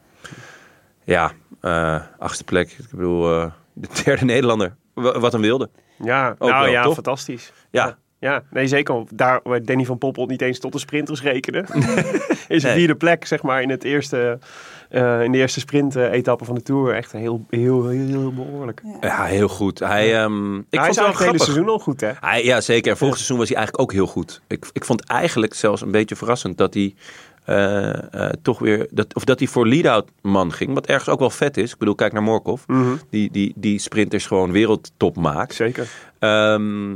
Speaker 2: Ja, eh, achtste plek. Ik bedoel, eh, de derde Nederlander. Wa- wat een wilde.
Speaker 1: Ja, nou
Speaker 2: wel,
Speaker 1: ja,
Speaker 2: toch?
Speaker 1: fantastisch.
Speaker 2: Ja.
Speaker 1: Ja, nee zeker. Daar waar Danny van Poppel niet eens tot de sprinters rekenen. is de vierde plek, zeg maar, in, het eerste, eh, in de eerste sprint-etappe van de Tour. Echt heel, heel, heel, heel behoorlijk. Nou,
Speaker 3: Ja.
Speaker 2: Ja, heel goed. Hij, ehm, ik
Speaker 1: hij
Speaker 2: vond het
Speaker 1: is
Speaker 2: wel
Speaker 1: eigenlijk het hele
Speaker 2: grappig.
Speaker 1: seizoen al goed, hè?
Speaker 2: Hij, ja, zeker. En vorig seizoen was hij eigenlijk ook heel goed. Ik, ik vond eigenlijk zelfs een beetje verrassend dat hij eh, eh, toch weer... Dat, of dat hij voor lead-out man ging. Wat ergens ook wel vet is. Ik bedoel, kijk naar Morkov. die, die, die sprinters gewoon wereldtop maakt.
Speaker 1: Mhm. Zeker.
Speaker 2: Ehm,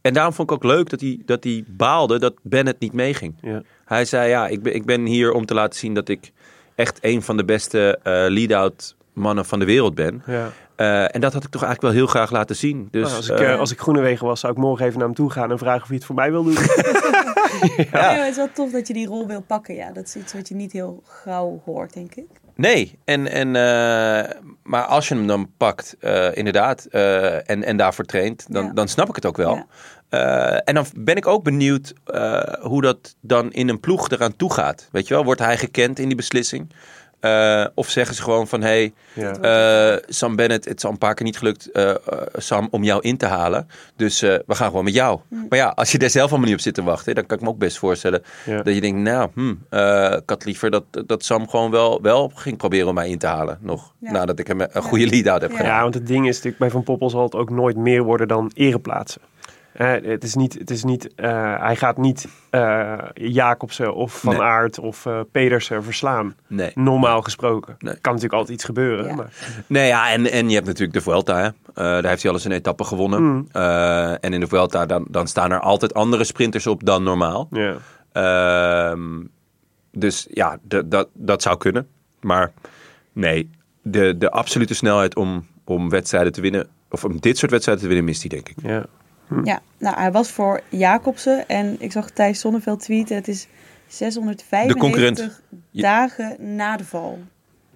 Speaker 2: en daarom vond ik ook leuk dat hij, dat hij baalde dat Bennett niet meeging.
Speaker 1: Ja.
Speaker 2: Hij zei, ja, ik ben, ik ben hier om te laten zien dat ik echt een van de beste eh, lead-out mannen van de wereld ben.
Speaker 1: Ja.
Speaker 2: Eh, en dat had ik toch eigenlijk wel heel graag laten zien. Dus,
Speaker 1: Nou, als, ik,
Speaker 2: eh,
Speaker 1: eh, als ik Groenewegen was, zou ik morgen even naar hem toe gaan en vragen of hij het voor mij wil doen.
Speaker 3: Ja, maar het is wel tof dat je die rol wil pakken. Ja, dat is iets wat je niet heel gauw hoort, denk ik.
Speaker 2: Nee, en, en, eh, maar als je hem dan pakt, eh, inderdaad, eh, en, en daarvoor traint, dan,
Speaker 3: Ja.
Speaker 2: dan snap ik het ook wel.
Speaker 3: Ja.
Speaker 2: Eh, en dan ben ik ook benieuwd eh, hoe dat dan in een ploeg eraan toe gaat. Weet je wel, wordt hij gekend in die beslissing? Eh, of zeggen ze gewoon van, hey,
Speaker 1: Ja.
Speaker 2: eh, Sam Bennett, het is al een paar keer niet gelukt, eh, eh, Sam, om jou in te halen. Dus eh, we gaan gewoon met jou.
Speaker 3: Mm.
Speaker 2: Maar ja, als je daar zelf allemaal niet op zit te wachten, dan kan ik me ook best voorstellen
Speaker 1: Ja.
Speaker 2: dat je denkt, nou, hm, eh, ik had liever dat, dat Sam gewoon wel, wel ging proberen om mij in te halen. Nog
Speaker 3: Ja.
Speaker 2: nadat ik hem een goede lead-out heb
Speaker 3: Ja.
Speaker 2: gedaan.
Speaker 1: Ja, want het ding is natuurlijk, bij Van Poppel zal het ook nooit meer worden dan ereplaatsen. Eh, het is niet, het is niet eh, hij gaat niet eh, Jacobsen of Van
Speaker 2: Nee.
Speaker 1: Aert of eh, Pedersen verslaan.
Speaker 2: Nee.
Speaker 1: Normaal gesproken.
Speaker 2: Nee.
Speaker 1: Kan natuurlijk altijd iets gebeuren.
Speaker 3: Ja.
Speaker 1: Maar,
Speaker 2: Nee, ja, en, en je hebt natuurlijk de Vuelta. Hè. Eh, daar heeft hij al eens een etappe gewonnen.
Speaker 1: Mm.
Speaker 2: Eh, en in de Vuelta dan, dan staan er altijd andere sprinters op dan normaal.
Speaker 1: ja.
Speaker 2: Ehm, dus ja, d- dat- dat zou kunnen. Maar nee, de, de absolute snelheid om, om wedstrijden te winnen... of om dit soort wedstrijden te winnen, mist hij denk ik.
Speaker 1: Ja.
Speaker 3: Ja, nou, hij was voor Jacobsen. En ik zag Thijs Zonneveld tweeten. Het is
Speaker 2: De concurrent.
Speaker 3: 695 dagen na de val.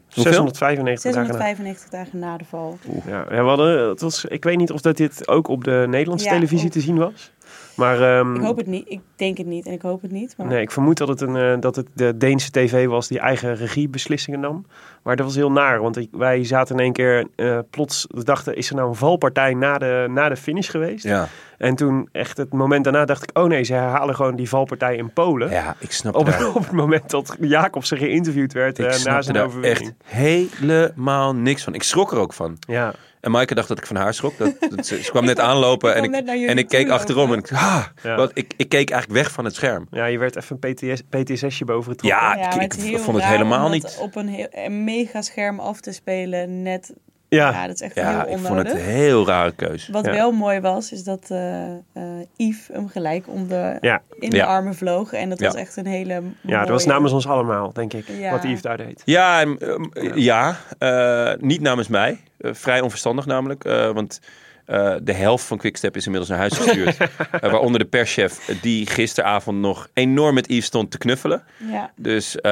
Speaker 1: 695 dagen. na.
Speaker 3: 695 dagen na de val.
Speaker 1: Ja, ja, we hadden, het was, ik weet niet of dat dit ook op de Nederlandse
Speaker 3: Ja,
Speaker 1: televisie
Speaker 3: op-
Speaker 1: te zien was. Maar ehm,
Speaker 3: Ik
Speaker 2: Mm.
Speaker 3: hoop het niet. Ik denk het niet en ik hoop het niet. Maar
Speaker 1: nee, ik vermoed dat het, een, eh, dat het de Deense tv was die eigen regiebeslissingen nam. Maar dat was heel naar, want ik- wij zaten in één keer eh, plots, we dachten, is er nou een valpartij na de, na de finish geweest?
Speaker 2: Ja.
Speaker 1: En toen echt het moment daarna dacht ik, oh nee, ze herhalen gewoon die valpartij in Polen.
Speaker 2: ja, ik snap
Speaker 1: Op,
Speaker 2: daar-
Speaker 1: op het moment dat Jacobsen geïnterviewd werd eh,
Speaker 2: Ik
Speaker 1: na
Speaker 2: snap
Speaker 1: zijn
Speaker 2: daar
Speaker 1: overwinning.
Speaker 2: echt helemaal niks van. Ik schrok er ook van.
Speaker 1: Ja.
Speaker 2: En Maaike dacht dat ik van haar schrok. Dat, dat ze, ze kwam net aanlopen
Speaker 3: Ik
Speaker 2: en,
Speaker 3: kwam
Speaker 2: ik,
Speaker 3: net naar jullie
Speaker 2: en ik keek
Speaker 3: toe eh.
Speaker 2: achterom. En ik, ah,
Speaker 1: Ja.
Speaker 2: want ik, ik keek eigenlijk weg van het scherm.
Speaker 1: ja, je werd even een PTS, PTSS'je boven getrokken.
Speaker 2: Ja,
Speaker 3: maar
Speaker 2: Ah, ik,
Speaker 3: het is
Speaker 2: ik
Speaker 3: heel
Speaker 2: vond het
Speaker 3: raar
Speaker 2: helemaal
Speaker 3: om dat
Speaker 2: niet.
Speaker 3: op een, heel, een mega scherm af te spelen. Net, ja,
Speaker 1: ja.
Speaker 3: dat is echt
Speaker 2: Ah. Ja,
Speaker 3: heel
Speaker 2: ik vond het
Speaker 3: onnodig.
Speaker 2: een heel rare keus.
Speaker 3: Wat
Speaker 1: Ja.
Speaker 3: wel mooi was, is dat eh eh, Yves hem gelijk om de,
Speaker 1: Ja.
Speaker 3: in de
Speaker 2: Ja.
Speaker 3: armen vloog. En dat
Speaker 2: Ja.
Speaker 3: was echt een hele mooie...
Speaker 1: Ja, dat was namens ons allemaal, denk ik,
Speaker 3: Ja.
Speaker 1: wat Yves daar deed.
Speaker 2: Ja, en, ehm, eh, ja eh, niet namens mij. Eh, vrij onverstandig namelijk. eh, want eh, de helft van Quickstep is inmiddels naar huis gestuurd. Eh, waaronder de perschef eh, die gisteravond nog enorm met Yves stond te knuffelen.
Speaker 3: Ja.
Speaker 2: Dus eh,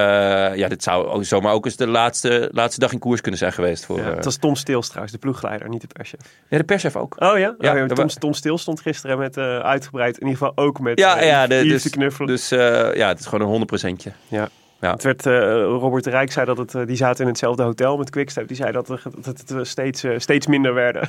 Speaker 2: ja, dit zou ook zomaar ook eens de laatste, laatste dag in koers kunnen zijn geweest. Voor,
Speaker 1: Ja,
Speaker 2: eh,
Speaker 1: het was Tom Stils trouwens, de ploegleider, niet de perschef.
Speaker 2: ja, de perschef ook.
Speaker 1: Oh ja? Oh, ja,
Speaker 2: dat
Speaker 1: Tom,
Speaker 2: wa-
Speaker 1: Tom Stils stond gisteren met, eh, uitgebreid, in ieder geval ook met
Speaker 2: Ja,
Speaker 1: eh,
Speaker 2: ja,
Speaker 1: Yves-
Speaker 2: de,
Speaker 1: Yves
Speaker 2: dus,
Speaker 1: te knuffelen.
Speaker 2: dus eh, ja, het is gewoon een 100 procentje.
Speaker 1: ja.
Speaker 2: Ja.
Speaker 1: Het werd, eh, Robert de Rijk zei dat het, eh, die zaten in hetzelfde hotel met Quickstep. Die zei dat, er- dat het eh, steeds, eh, steeds minder werden.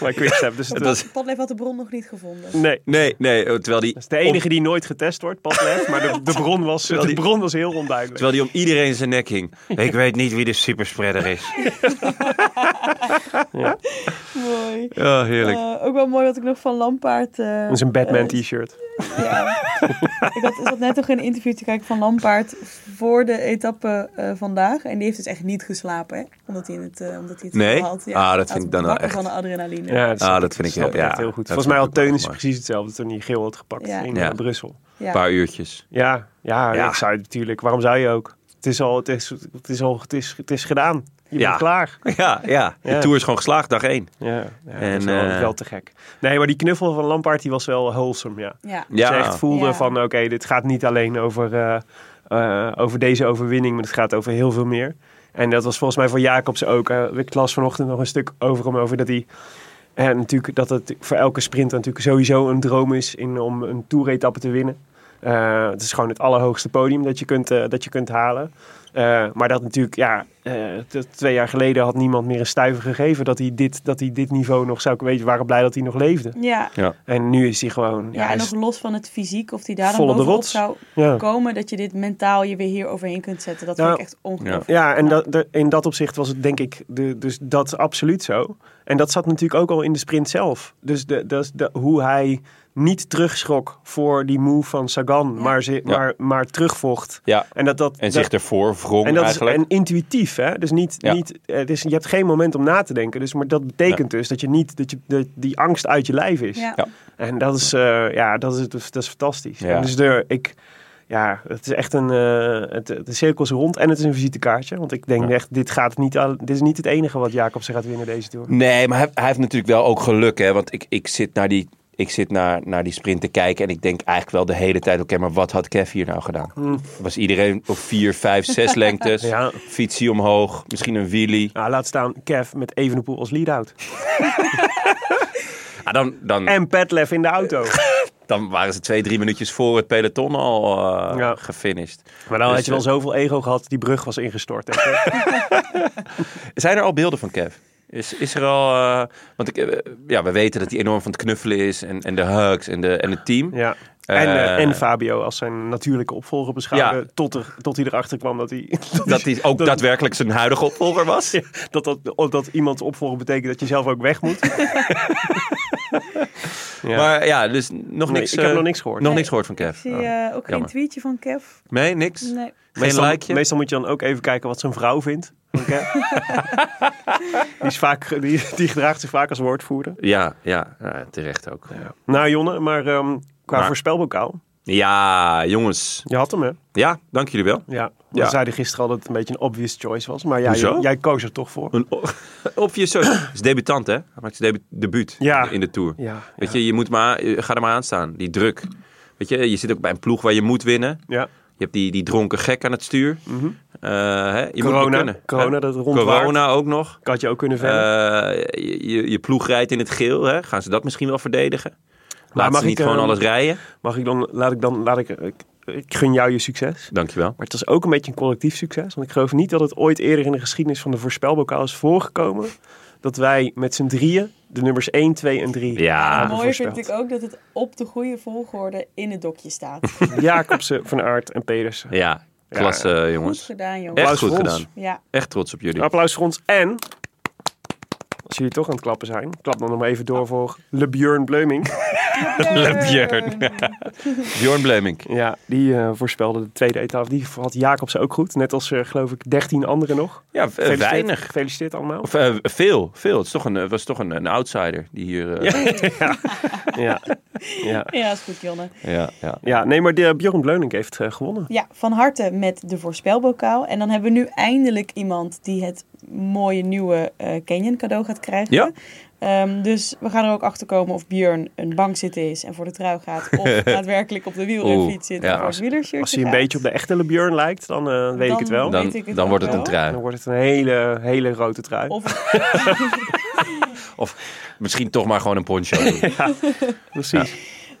Speaker 1: Maar Quickstep, dus het
Speaker 2: Dat is-
Speaker 3: Padlef had de bron nog niet gevonden.
Speaker 1: Nee.
Speaker 2: nee, nee, eh, terwijl die,
Speaker 1: Dat is de enige die nooit getest wordt, Padlet. Maar de, de, bron was,
Speaker 2: Terwijl
Speaker 1: de
Speaker 2: die-
Speaker 1: bron was heel onduidelijk.
Speaker 2: terwijl die om iedereen zijn nek hing. Ik weet niet wie de superspreader is.
Speaker 3: Mooi.
Speaker 2: Ja, heerlijk.
Speaker 3: Eh, ook wel mooi wat ik nog van Lampaard... eh,
Speaker 1: Dat is een Batman
Speaker 3: eh,
Speaker 1: t-shirt.
Speaker 3: Ja. ik had, zat net nog een interview te kijken van Lampaard voor de etappe eh, vandaag. En die heeft dus echt niet geslapen, hè? Omdat hij het, eh, omdat hij het
Speaker 2: Nee?
Speaker 3: had.
Speaker 2: Ah, dat
Speaker 3: Hij
Speaker 2: vind ik
Speaker 3: was
Speaker 2: dan wel
Speaker 3: wakker
Speaker 2: echt.
Speaker 3: van de adrenaline.
Speaker 1: Ja,
Speaker 2: Ah, dat vind ik
Speaker 1: snap
Speaker 2: heel- ja,
Speaker 1: echt heel goed.
Speaker 2: dat
Speaker 1: Volgens mij
Speaker 2: vind ik
Speaker 1: had
Speaker 2: ook wel
Speaker 1: Teun is
Speaker 2: mooi.
Speaker 1: precies hetzelfde toen hij geel had gepakt
Speaker 3: Ja.
Speaker 1: in
Speaker 2: Ja.
Speaker 1: eh, Brussel.
Speaker 3: Ja.
Speaker 2: paar uurtjes.
Speaker 1: Ja, ja,
Speaker 2: Ja.
Speaker 1: ik zou het natuurlijk. Waarom zou je ook? Het is al, het is, het is al, het is, het is gedaan. Je
Speaker 2: Ja.
Speaker 1: bent klaar.
Speaker 2: Ja, ja. De
Speaker 1: Ja.
Speaker 2: tour is gewoon geslaagd, dag één.
Speaker 1: Ja, ja en,
Speaker 2: En,
Speaker 1: dat is wel,
Speaker 2: eh,
Speaker 1: wel te gek. Nee, maar die knuffel van Lampaard die was wel wholesome, ja.
Speaker 3: Ja.
Speaker 1: Dat
Speaker 2: Ja.
Speaker 1: je echt voelde
Speaker 3: Ja.
Speaker 1: van, oké, dit gaat niet alleen over, eh, eh, over deze overwinning, maar het gaat over heel veel meer. En dat was volgens mij voor Jacobs ook. eh, ik las vanochtend nog een stuk over hem, over dat hij... En natuurlijk dat het voor elke sprinter natuurlijk sowieso een droom is in, om een toeretappe te winnen. Eh, het is gewoon het allerhoogste podium dat je kunt, eh, dat je kunt halen. Eh, maar dat natuurlijk, ja, eh, t- twee jaar geleden had niemand meer een stuiver gegeven dat hij dit, dat hij dit niveau nog zou kunnen weten. We waren blij dat hij nog leefde.
Speaker 3: Ja.
Speaker 1: En nu is hij gewoon.
Speaker 3: Ja,
Speaker 1: Ja,
Speaker 3: en
Speaker 1: is-
Speaker 3: nog los van het fysiek, of die daar dan
Speaker 1: Volle de
Speaker 3: bovenop
Speaker 1: rots.
Speaker 3: zou
Speaker 1: ja.
Speaker 3: komen, dat je dit mentaal je weer hier overheen kunt zetten. Dat
Speaker 1: Nou,
Speaker 3: vind ik echt ongelooflijk.
Speaker 1: Ja, en dat, de- in dat opzicht was het denk ik, de, dus dat is absoluut zo. En dat zat natuurlijk ook al in de sprint zelf. Dus de, dat is de, hoe hij niet terugschrok voor die move van Sagan,
Speaker 3: Ja.
Speaker 1: maar, ze, maar, maar terugvocht.
Speaker 2: Ja.
Speaker 1: En dat, dat,
Speaker 2: En
Speaker 1: dat,
Speaker 2: zich ervoor wrong
Speaker 1: en dat is
Speaker 2: eigenlijk.
Speaker 1: en intuïtief, hè? Dus niet,
Speaker 2: Ja.
Speaker 1: niet, eh, dus je hebt geen moment om na te denken. Dus, maar dat betekent dus dat je niet dat je dat die angst uit je lijf is.
Speaker 3: Ja.
Speaker 2: Ja.
Speaker 1: En dat is, eh, ja, dat is, dat is fantastisch.
Speaker 2: Ja.
Speaker 1: En dus de, ik, ja, het is echt een, eh, het, de cirkel is rond en het is een visitekaartje. Want ik denk
Speaker 2: Ja.
Speaker 1: echt, dit, gaat niet, al- dit is niet het enige wat Jacobsen gaat winnen deze Tour.
Speaker 2: Nee, maar hij, hij heeft natuurlijk wel ook geluk. Hè? Want ik, ik zit, naar die, ik zit naar, naar die sprint te kijken. En ik denk eigenlijk wel de hele tijd: oké, maar wat had Kev hier nou gedaan? Was iedereen op vier, vijf, zes lengtes?
Speaker 1: Hmm. Ja.
Speaker 2: Fietsie omhoog, misschien een wheelie.
Speaker 1: Nou, laat staan Kev met Evenepoel als lead-out.
Speaker 2: Ah, dan, dan,
Speaker 1: En Petlev in de auto.
Speaker 2: dan waren ze twee, drie minuutjes voor het peloton al eh,
Speaker 1: Ja.
Speaker 2: gefinished.
Speaker 1: Maar dan
Speaker 2: Dus,
Speaker 1: had je wel
Speaker 2: eh,
Speaker 1: zoveel ego gehad, die brug was ingestort. denk ik.
Speaker 2: Zijn er al beelden van Kev? Is, is er al. eh, want ik, eh, ja, we weten dat hij enorm van het knuffelen is. En, en de hugs en, de, en het team.
Speaker 1: Ja. En, eh,
Speaker 2: Eh,
Speaker 1: en Fabio als zijn natuurlijke opvolger beschouwde.
Speaker 2: Ja.
Speaker 1: Tot, er, tot hij erachter kwam dat hij.
Speaker 2: Dat hij ook daadwerkelijk zijn huidige opvolger was.
Speaker 1: dat, dat, dat iemand opvolger betekent dat je zelf ook weg moet. ja.
Speaker 2: Maar ja, dus nog
Speaker 1: Nee,
Speaker 2: niks.
Speaker 1: ik heb
Speaker 2: eh,
Speaker 1: nog niks gehoord.
Speaker 2: Nog
Speaker 3: Nee.
Speaker 2: niks gehoord van
Speaker 3: Ik
Speaker 2: Kev.
Speaker 3: zie
Speaker 2: Oh.
Speaker 3: eh, ook geen
Speaker 2: jammer.
Speaker 3: tweetje van Kev.
Speaker 2: Nee, niks.
Speaker 3: Nee.
Speaker 2: Geen
Speaker 1: meestal,
Speaker 2: likeje?
Speaker 1: meestal moet je dan ook even kijken wat zijn vrouw vindt. van Kev. die, is vaak, die, die gedraagt zich vaak als woordvoerder.
Speaker 2: Ja, ja, ja, terecht ook. Ja,
Speaker 1: Nou, Jonne, maar ehm, qua
Speaker 2: Maar-
Speaker 1: voorspelbokaal.
Speaker 2: jongens.
Speaker 1: Je had hem, hè?
Speaker 2: Ja, dank jullie wel.
Speaker 1: Ja. We
Speaker 2: Ja.
Speaker 1: zeiden gisteren al dat het een beetje een obvious choice was. Maar jij,
Speaker 2: Hoezo?
Speaker 1: jij koos er toch voor.
Speaker 2: Een o- obvious choice. Hij is debutant, hè? Hij maakt zijn debu- debuut
Speaker 1: Ja.
Speaker 2: in de Tour.
Speaker 1: Ja,
Speaker 2: Weet
Speaker 1: ja.
Speaker 2: je, je moet maar, je- ga er maar aan staan. Die druk. Weet je, je zit ook bij een ploeg waar je moet winnen.
Speaker 1: Ja.
Speaker 2: Je hebt die, die dronken gek aan het stuur. Eh, hè? Je moet het
Speaker 1: Mhm. Corona.
Speaker 2: kunnen.
Speaker 1: Corona,
Speaker 2: Hè?
Speaker 1: dat rondwaart.
Speaker 2: Corona ook nog.
Speaker 1: Ik had je ook kunnen vellen.
Speaker 2: Eh, je, je, je ploeg rijdt in het geel. Hè? Gaan ze dat misschien wel verdedigen? Laat
Speaker 1: mag
Speaker 2: ze niet
Speaker 1: ik,
Speaker 2: gewoon
Speaker 1: eh,
Speaker 2: alles rijden.
Speaker 1: Mag ik dan, laat ik dan, laat ik, ik, ik gun jou je succes.
Speaker 2: Dankjewel.
Speaker 1: Maar het is ook een beetje een collectief succes. Want ik geloof niet dat het ooit eerder in de geschiedenis van de voorspelbokaal is voorgekomen. Dat wij met z'n drieën de nummers 1, 2 en 3
Speaker 2: Ja.
Speaker 1: hebben
Speaker 3: Mooi
Speaker 1: voorspeld.
Speaker 3: vind ik ook dat het op de goede volgorde in het dokje staat.
Speaker 1: Jacobsen, Van Aert en Pedersen.
Speaker 2: Ja, klasse
Speaker 3: Goed
Speaker 2: jongens.
Speaker 3: gedaan, jongen.
Speaker 2: Echt
Speaker 1: Applaus
Speaker 2: goed
Speaker 1: voor ons.
Speaker 2: gedaan.
Speaker 3: Ja,
Speaker 2: Echt trots op jullie.
Speaker 1: Een applaus voor ons. En, als jullie toch aan het klappen zijn, klap dan nog maar even door voor LeBjörn Bleuming.
Speaker 2: Bjorn Blemink.
Speaker 1: Ja, die eh, voorspelde de tweede etappe. Die had Jacobsen ook goed. Net als, eh, geloof ik, 13 anderen nog.
Speaker 2: Ja, eh,
Speaker 1: Gefeliciteerd-
Speaker 2: weinig.
Speaker 1: Gefeliciteerd allemaal.
Speaker 2: Of eh, veel, veel. Het is toch een, eh, was toch een, een outsider die hier... eh,
Speaker 1: Ja, ja.
Speaker 3: ja, is goed, Jonne.
Speaker 2: ja, ja.
Speaker 1: ja nee, maar de, Björn Bleuming heeft eh, gewonnen.
Speaker 3: Ja, van harte met de voorspelbokaal. En dan hebben we nu eindelijk iemand die het mooie nieuwe eh Canyon cadeau gaat krijgen.
Speaker 2: Ja.
Speaker 3: Ehm, dus we gaan er ook achter komen of Björn een bankzitter is en voor de trui gaat. Of daadwerkelijk op de wielrenfiets
Speaker 2: Oeh,
Speaker 3: zit
Speaker 2: ja,
Speaker 3: en voor
Speaker 2: als-
Speaker 3: het wielershirt
Speaker 1: Als hij een beetje op de echte LeBjörn lijkt, dan eh, weet ik het wel.
Speaker 3: Dan-
Speaker 2: Dan,
Speaker 3: Weet ik het
Speaker 2: dan
Speaker 3: ook
Speaker 2: wordt het
Speaker 3: wel.
Speaker 2: een
Speaker 1: Dan
Speaker 2: trui.
Speaker 1: wordt het een hele, hele grote trui.
Speaker 3: Of
Speaker 2: Of misschien toch maar gewoon een poncho.
Speaker 1: Precies.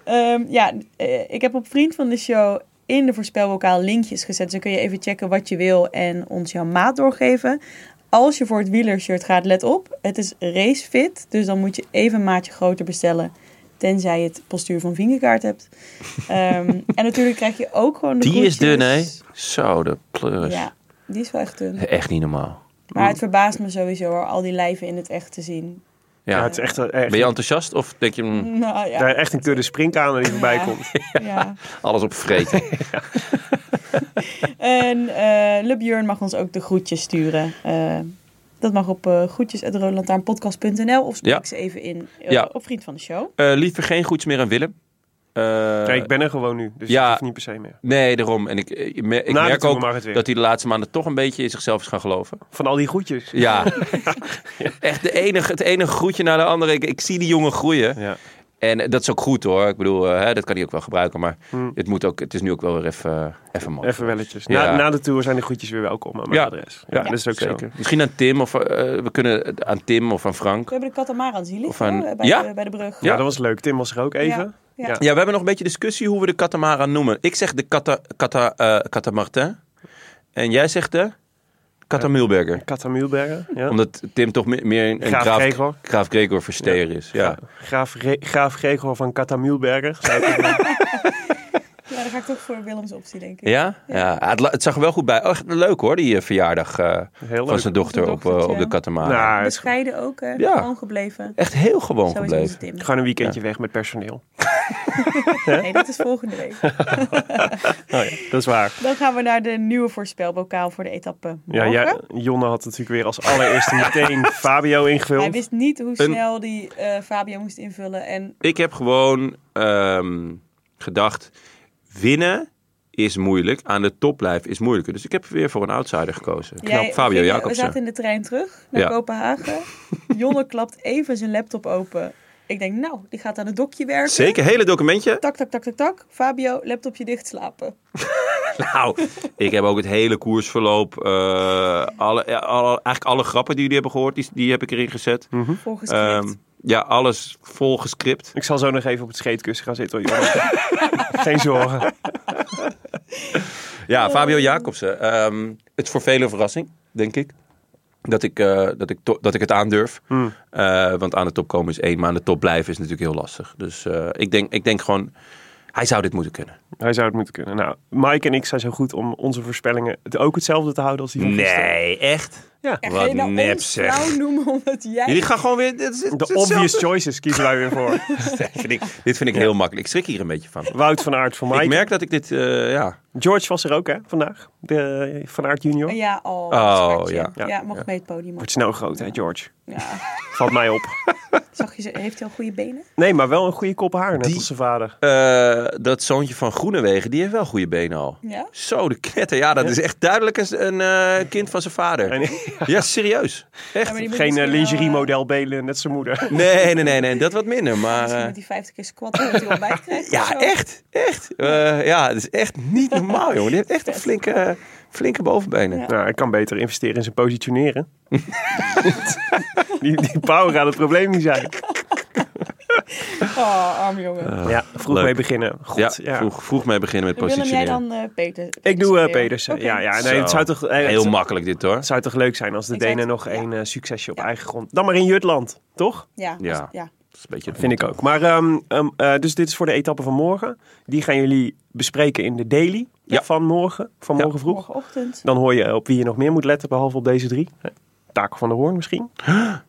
Speaker 3: Ehm, ja, eh, ik heb op vriend van de show in de voorspelbokaal linkjes gezet. Dus dan kun je even checken wat je wil en ons jouw maat doorgeven. Als je voor het wielershirt gaat, let op. Het is racefit, dus dan moet je even een maatje groter bestellen. Tenzij je het postuur van Vingegaard hebt. Ehm, en natuurlijk krijg je ook gewoon de
Speaker 2: Die is
Speaker 3: groetjes.
Speaker 2: dun, hè? Zo, de pleurs.
Speaker 3: Ja, die is wel echt dun.
Speaker 2: Echt niet normaal.
Speaker 3: Maar het verbaast me sowieso hoor, al die lijven in het echt te zien.
Speaker 2: Ja.
Speaker 1: Ja, het is echt, een- echt,
Speaker 2: Ben je enthousiast of denk je mm,
Speaker 3: Nou
Speaker 1: daar
Speaker 3: ja,
Speaker 1: echt een kudde springkamer die voorbij
Speaker 3: Ja.
Speaker 1: komt.
Speaker 3: ja.
Speaker 2: alles op vreten?
Speaker 3: En eh Lubjörn mag ons ook de groetjes sturen. Eh, dat mag op eh groetjes.roodlantaarnpodcast.nl of spreek
Speaker 2: Ja.
Speaker 3: ze even in eh,
Speaker 2: Ja.
Speaker 3: op Vriend van de Show.
Speaker 2: Eh, liever geen goeds meer aan Willem. Eh,
Speaker 1: Kijk, ik ben er gewoon nu, dus
Speaker 2: ja.
Speaker 1: ik hoef niet per se meer.
Speaker 2: Nee, daarom. En ik, eh, ik, mer- ik
Speaker 1: Na de
Speaker 2: merk
Speaker 1: Tour
Speaker 2: ook
Speaker 1: mag het weer.
Speaker 2: dat hij de laatste maanden toch een beetje in zichzelf is gaan geloven.
Speaker 1: Van al die groetjes.
Speaker 2: Ja. Echt de enige, het ene groetje naar de andere. Ik, ik zie die jongen groeien.
Speaker 1: Ja.
Speaker 2: En eh, dat is ook goed hoor. Ik bedoel, eh, hè, dat kan hij ook wel gebruiken. Maar
Speaker 1: Hm.
Speaker 2: het, moet ook, het is nu ook wel weer even, eh, even man.
Speaker 1: Even welletjes. Na,
Speaker 2: Ja.
Speaker 1: na de tour zijn de groetjes weer welkom aan mijn
Speaker 2: Ja.
Speaker 1: adres. Ja, dat is ook
Speaker 2: Zeker.
Speaker 1: zo.
Speaker 2: Misschien aan Tim of eh, we kunnen het aan Tim of aan Frank.
Speaker 3: We hebben de Katamarans hier
Speaker 2: Of
Speaker 3: liggen
Speaker 2: een-
Speaker 3: hoor, bij,
Speaker 2: Ja.
Speaker 3: de, bij de brug.
Speaker 1: Ja. dat was leuk. Tim was er ook even.
Speaker 3: Ja.
Speaker 1: Ja.
Speaker 3: Ja.
Speaker 2: Ja, we hebben nog een beetje discussie hoe we de katamaran noemen. Ik zeg de kata, kata, eh, katamartin. En jij zegt de katamulberger.
Speaker 1: Katta Mühlbergen. Ja.
Speaker 2: Omdat Tim toch me- meer een, een
Speaker 1: Graaf
Speaker 2: graaf, graaf Gregor,
Speaker 1: Gregor.
Speaker 2: versteer is. Ja.
Speaker 1: Ja. Graaf, Re- Graaf Gregor van Katta Mühlbergen. Zou ik-
Speaker 3: Ja, daar ga ik toch voor Willems optie denk ik.
Speaker 2: Ja? ja. Ah, het, la- het zag er wel goed bij. Echt leuk hoor, die eh, verjaardag eh,
Speaker 1: Heel
Speaker 2: van
Speaker 1: leuk.
Speaker 2: zijn dochter
Speaker 3: Zijn
Speaker 2: op, eh,
Speaker 3: dochtertje.
Speaker 2: op de katamaran.
Speaker 1: Nou, het is
Speaker 3: Bescheiden ook, hè?
Speaker 2: Ja.
Speaker 3: gewoon gebleven.
Speaker 2: Echt heel gewoon
Speaker 3: Zo is
Speaker 2: gebleven.
Speaker 3: onze Tim.
Speaker 1: gewoon een weekendje weg met personeel.
Speaker 3: Nee, dat is volgende week.
Speaker 1: Oh ja, dat is waar.
Speaker 3: Dan gaan we naar de nieuwe voorspelbokaal voor de etappe
Speaker 1: Ja,
Speaker 3: morgen.
Speaker 1: ja, Jonne had natuurlijk weer als allereerste meteen Fabio
Speaker 3: Hij
Speaker 1: ingevuld.
Speaker 3: wist niet hoe snel die eh, Fabio moest invullen. En
Speaker 2: Ik heb gewoon ehm, gedacht, winnen is moeilijk, aan de top blijven is moeilijker. Dus ik heb weer voor een outsider gekozen. Knap,
Speaker 3: Jij
Speaker 2: Fabio
Speaker 3: ging-
Speaker 2: Jacobsen.
Speaker 3: We zaten in de trein terug naar
Speaker 2: Ja.
Speaker 3: Kopenhagen. Jonne klapt even zijn laptop open. Ik denk, nou, die gaat aan het dokje werken.
Speaker 2: Zeker, hele documentje.
Speaker 3: Tak, tak, tak, tak, tak. Fabio, laptopje dicht slapen.
Speaker 2: Nou, ik heb ook het hele koersverloop, eh, alle, ja, alle- eigenlijk alle grappen die jullie hebben gehoord, die, die heb ik erin gezet.
Speaker 3: Mhm. Volgens
Speaker 2: Ehm, ja, alles vol gescript.
Speaker 1: Ik zal zo nog even op het scheetkussen gaan zitten. hoor, Jonne. Geen zorgen.
Speaker 2: Ja, Fabio Jacobsen. ehm, het is voor velen een verrassing, denk ik. Dat ik, eh, dat ik, to- dat ik het aandurf. Eh, want aan de top komen is één, maar aan de top blijven is natuurlijk heel lastig. Dus eh, ik, denk, ik denk gewoon, hij zou dit moeten kunnen.
Speaker 1: Hij zou het moeten kunnen. Nou, Mike en ik zijn zo goed om onze voorspellingen het ook hetzelfde te houden als die van gisteren.
Speaker 2: echt?
Speaker 1: Ja.
Speaker 3: ja,
Speaker 2: wat
Speaker 3: ga je nou
Speaker 2: nep,
Speaker 3: ons
Speaker 2: zeg.
Speaker 3: flauw noemen omdat jij...
Speaker 2: Jullie gaan gewoon weer... Dit, is- dit, is
Speaker 1: De
Speaker 2: hetzelfde.
Speaker 1: obvious choices kiezen wij weer voor.
Speaker 2: Dit vind ik, dit vind ik heel makkelijk. Ik schrik hier een beetje van.
Speaker 1: Wout van Aert voor Mike.
Speaker 2: Ik merk dat ik dit, eh, ja...
Speaker 1: George was er ook, hè, vandaag. De eh, Van Aert junior.
Speaker 3: Ja, oh,
Speaker 2: Oh,
Speaker 3: schatje.
Speaker 2: ja.
Speaker 3: Ja,
Speaker 1: Ja.
Speaker 3: mocht mee het podium op.
Speaker 1: Wordt snel groot, hè, George.
Speaker 3: Ja.
Speaker 1: Valt mij op.
Speaker 3: Zag je, ze- heeft hij al goede benen?
Speaker 1: Nee, maar wel een goede kop haar, net
Speaker 2: Die-
Speaker 1: als zijn vader.
Speaker 2: Eh, dat zoontje van Groenewegen, die heeft wel goede benen al.
Speaker 3: Ja?
Speaker 2: Zo, de knetter. Ja, dat is echt duidelijk een, een eh, kind van zijn vader.
Speaker 1: En,
Speaker 2: Ja, serieus.
Speaker 3: Ja, maar die moet
Speaker 1: geen
Speaker 3: misschien
Speaker 1: eh,
Speaker 3: wel, eh,
Speaker 1: lingerie-model belen, net zijn moeder.
Speaker 2: Nee, nee, nee, nee, dat wat minder. Maar
Speaker 3: Misschien met
Speaker 2: eh,
Speaker 3: die 50 keer squat dat hij ontbijt krijgt. of zo.
Speaker 2: ja, echt, echt. Eh, ja, het is echt niet normaal, jongen. Die heeft echt een flinke, flinke bovenbenen.
Speaker 3: Ja.
Speaker 1: Nou, hij kan beter investeren in zijn positioneren. die, die power gaat het probleem niet zijn.
Speaker 3: Oh, arme
Speaker 2: Eh,
Speaker 3: jongen.
Speaker 1: ja, vroeg
Speaker 2: Ah, leuk.
Speaker 1: mee beginnen. Goed, ja.
Speaker 2: ja, Vroeg, vroeg mee beginnen met
Speaker 3: Dan Wil hem jij
Speaker 2: positioneren.
Speaker 3: dan eh Peter?
Speaker 1: Ik doe eh,
Speaker 3: Petersen.
Speaker 1: Pedersen.
Speaker 3: Oké.
Speaker 1: Ja, ja nee, het
Speaker 2: Zo.
Speaker 1: zou toch, eh, het
Speaker 2: Heel
Speaker 1: zou-
Speaker 2: makkelijk dit hoor.
Speaker 1: het zou toch leuk zijn als de
Speaker 3: Exact.
Speaker 1: Denen nog
Speaker 3: Ja.
Speaker 1: één eh, succesje op
Speaker 3: Ja.
Speaker 1: eigen grond. Dan maar in Jutland, toch?
Speaker 3: Ja.
Speaker 2: Ja.
Speaker 3: ja.
Speaker 2: Dat is een beetje het
Speaker 1: Vind ik
Speaker 2: motto.
Speaker 1: ook. Maar ehm, ehm, eh, dus dit is voor de etappe van morgen. Die gaan jullie bespreken in de daily
Speaker 2: Ja.
Speaker 1: van morgen, van
Speaker 2: Ja.
Speaker 1: morgen vroeg.
Speaker 3: Morgenochtend.
Speaker 1: Dan hoor je op wie je nog meer moet letten, behalve op deze drie. Hè? Taco van der Hoorn misschien.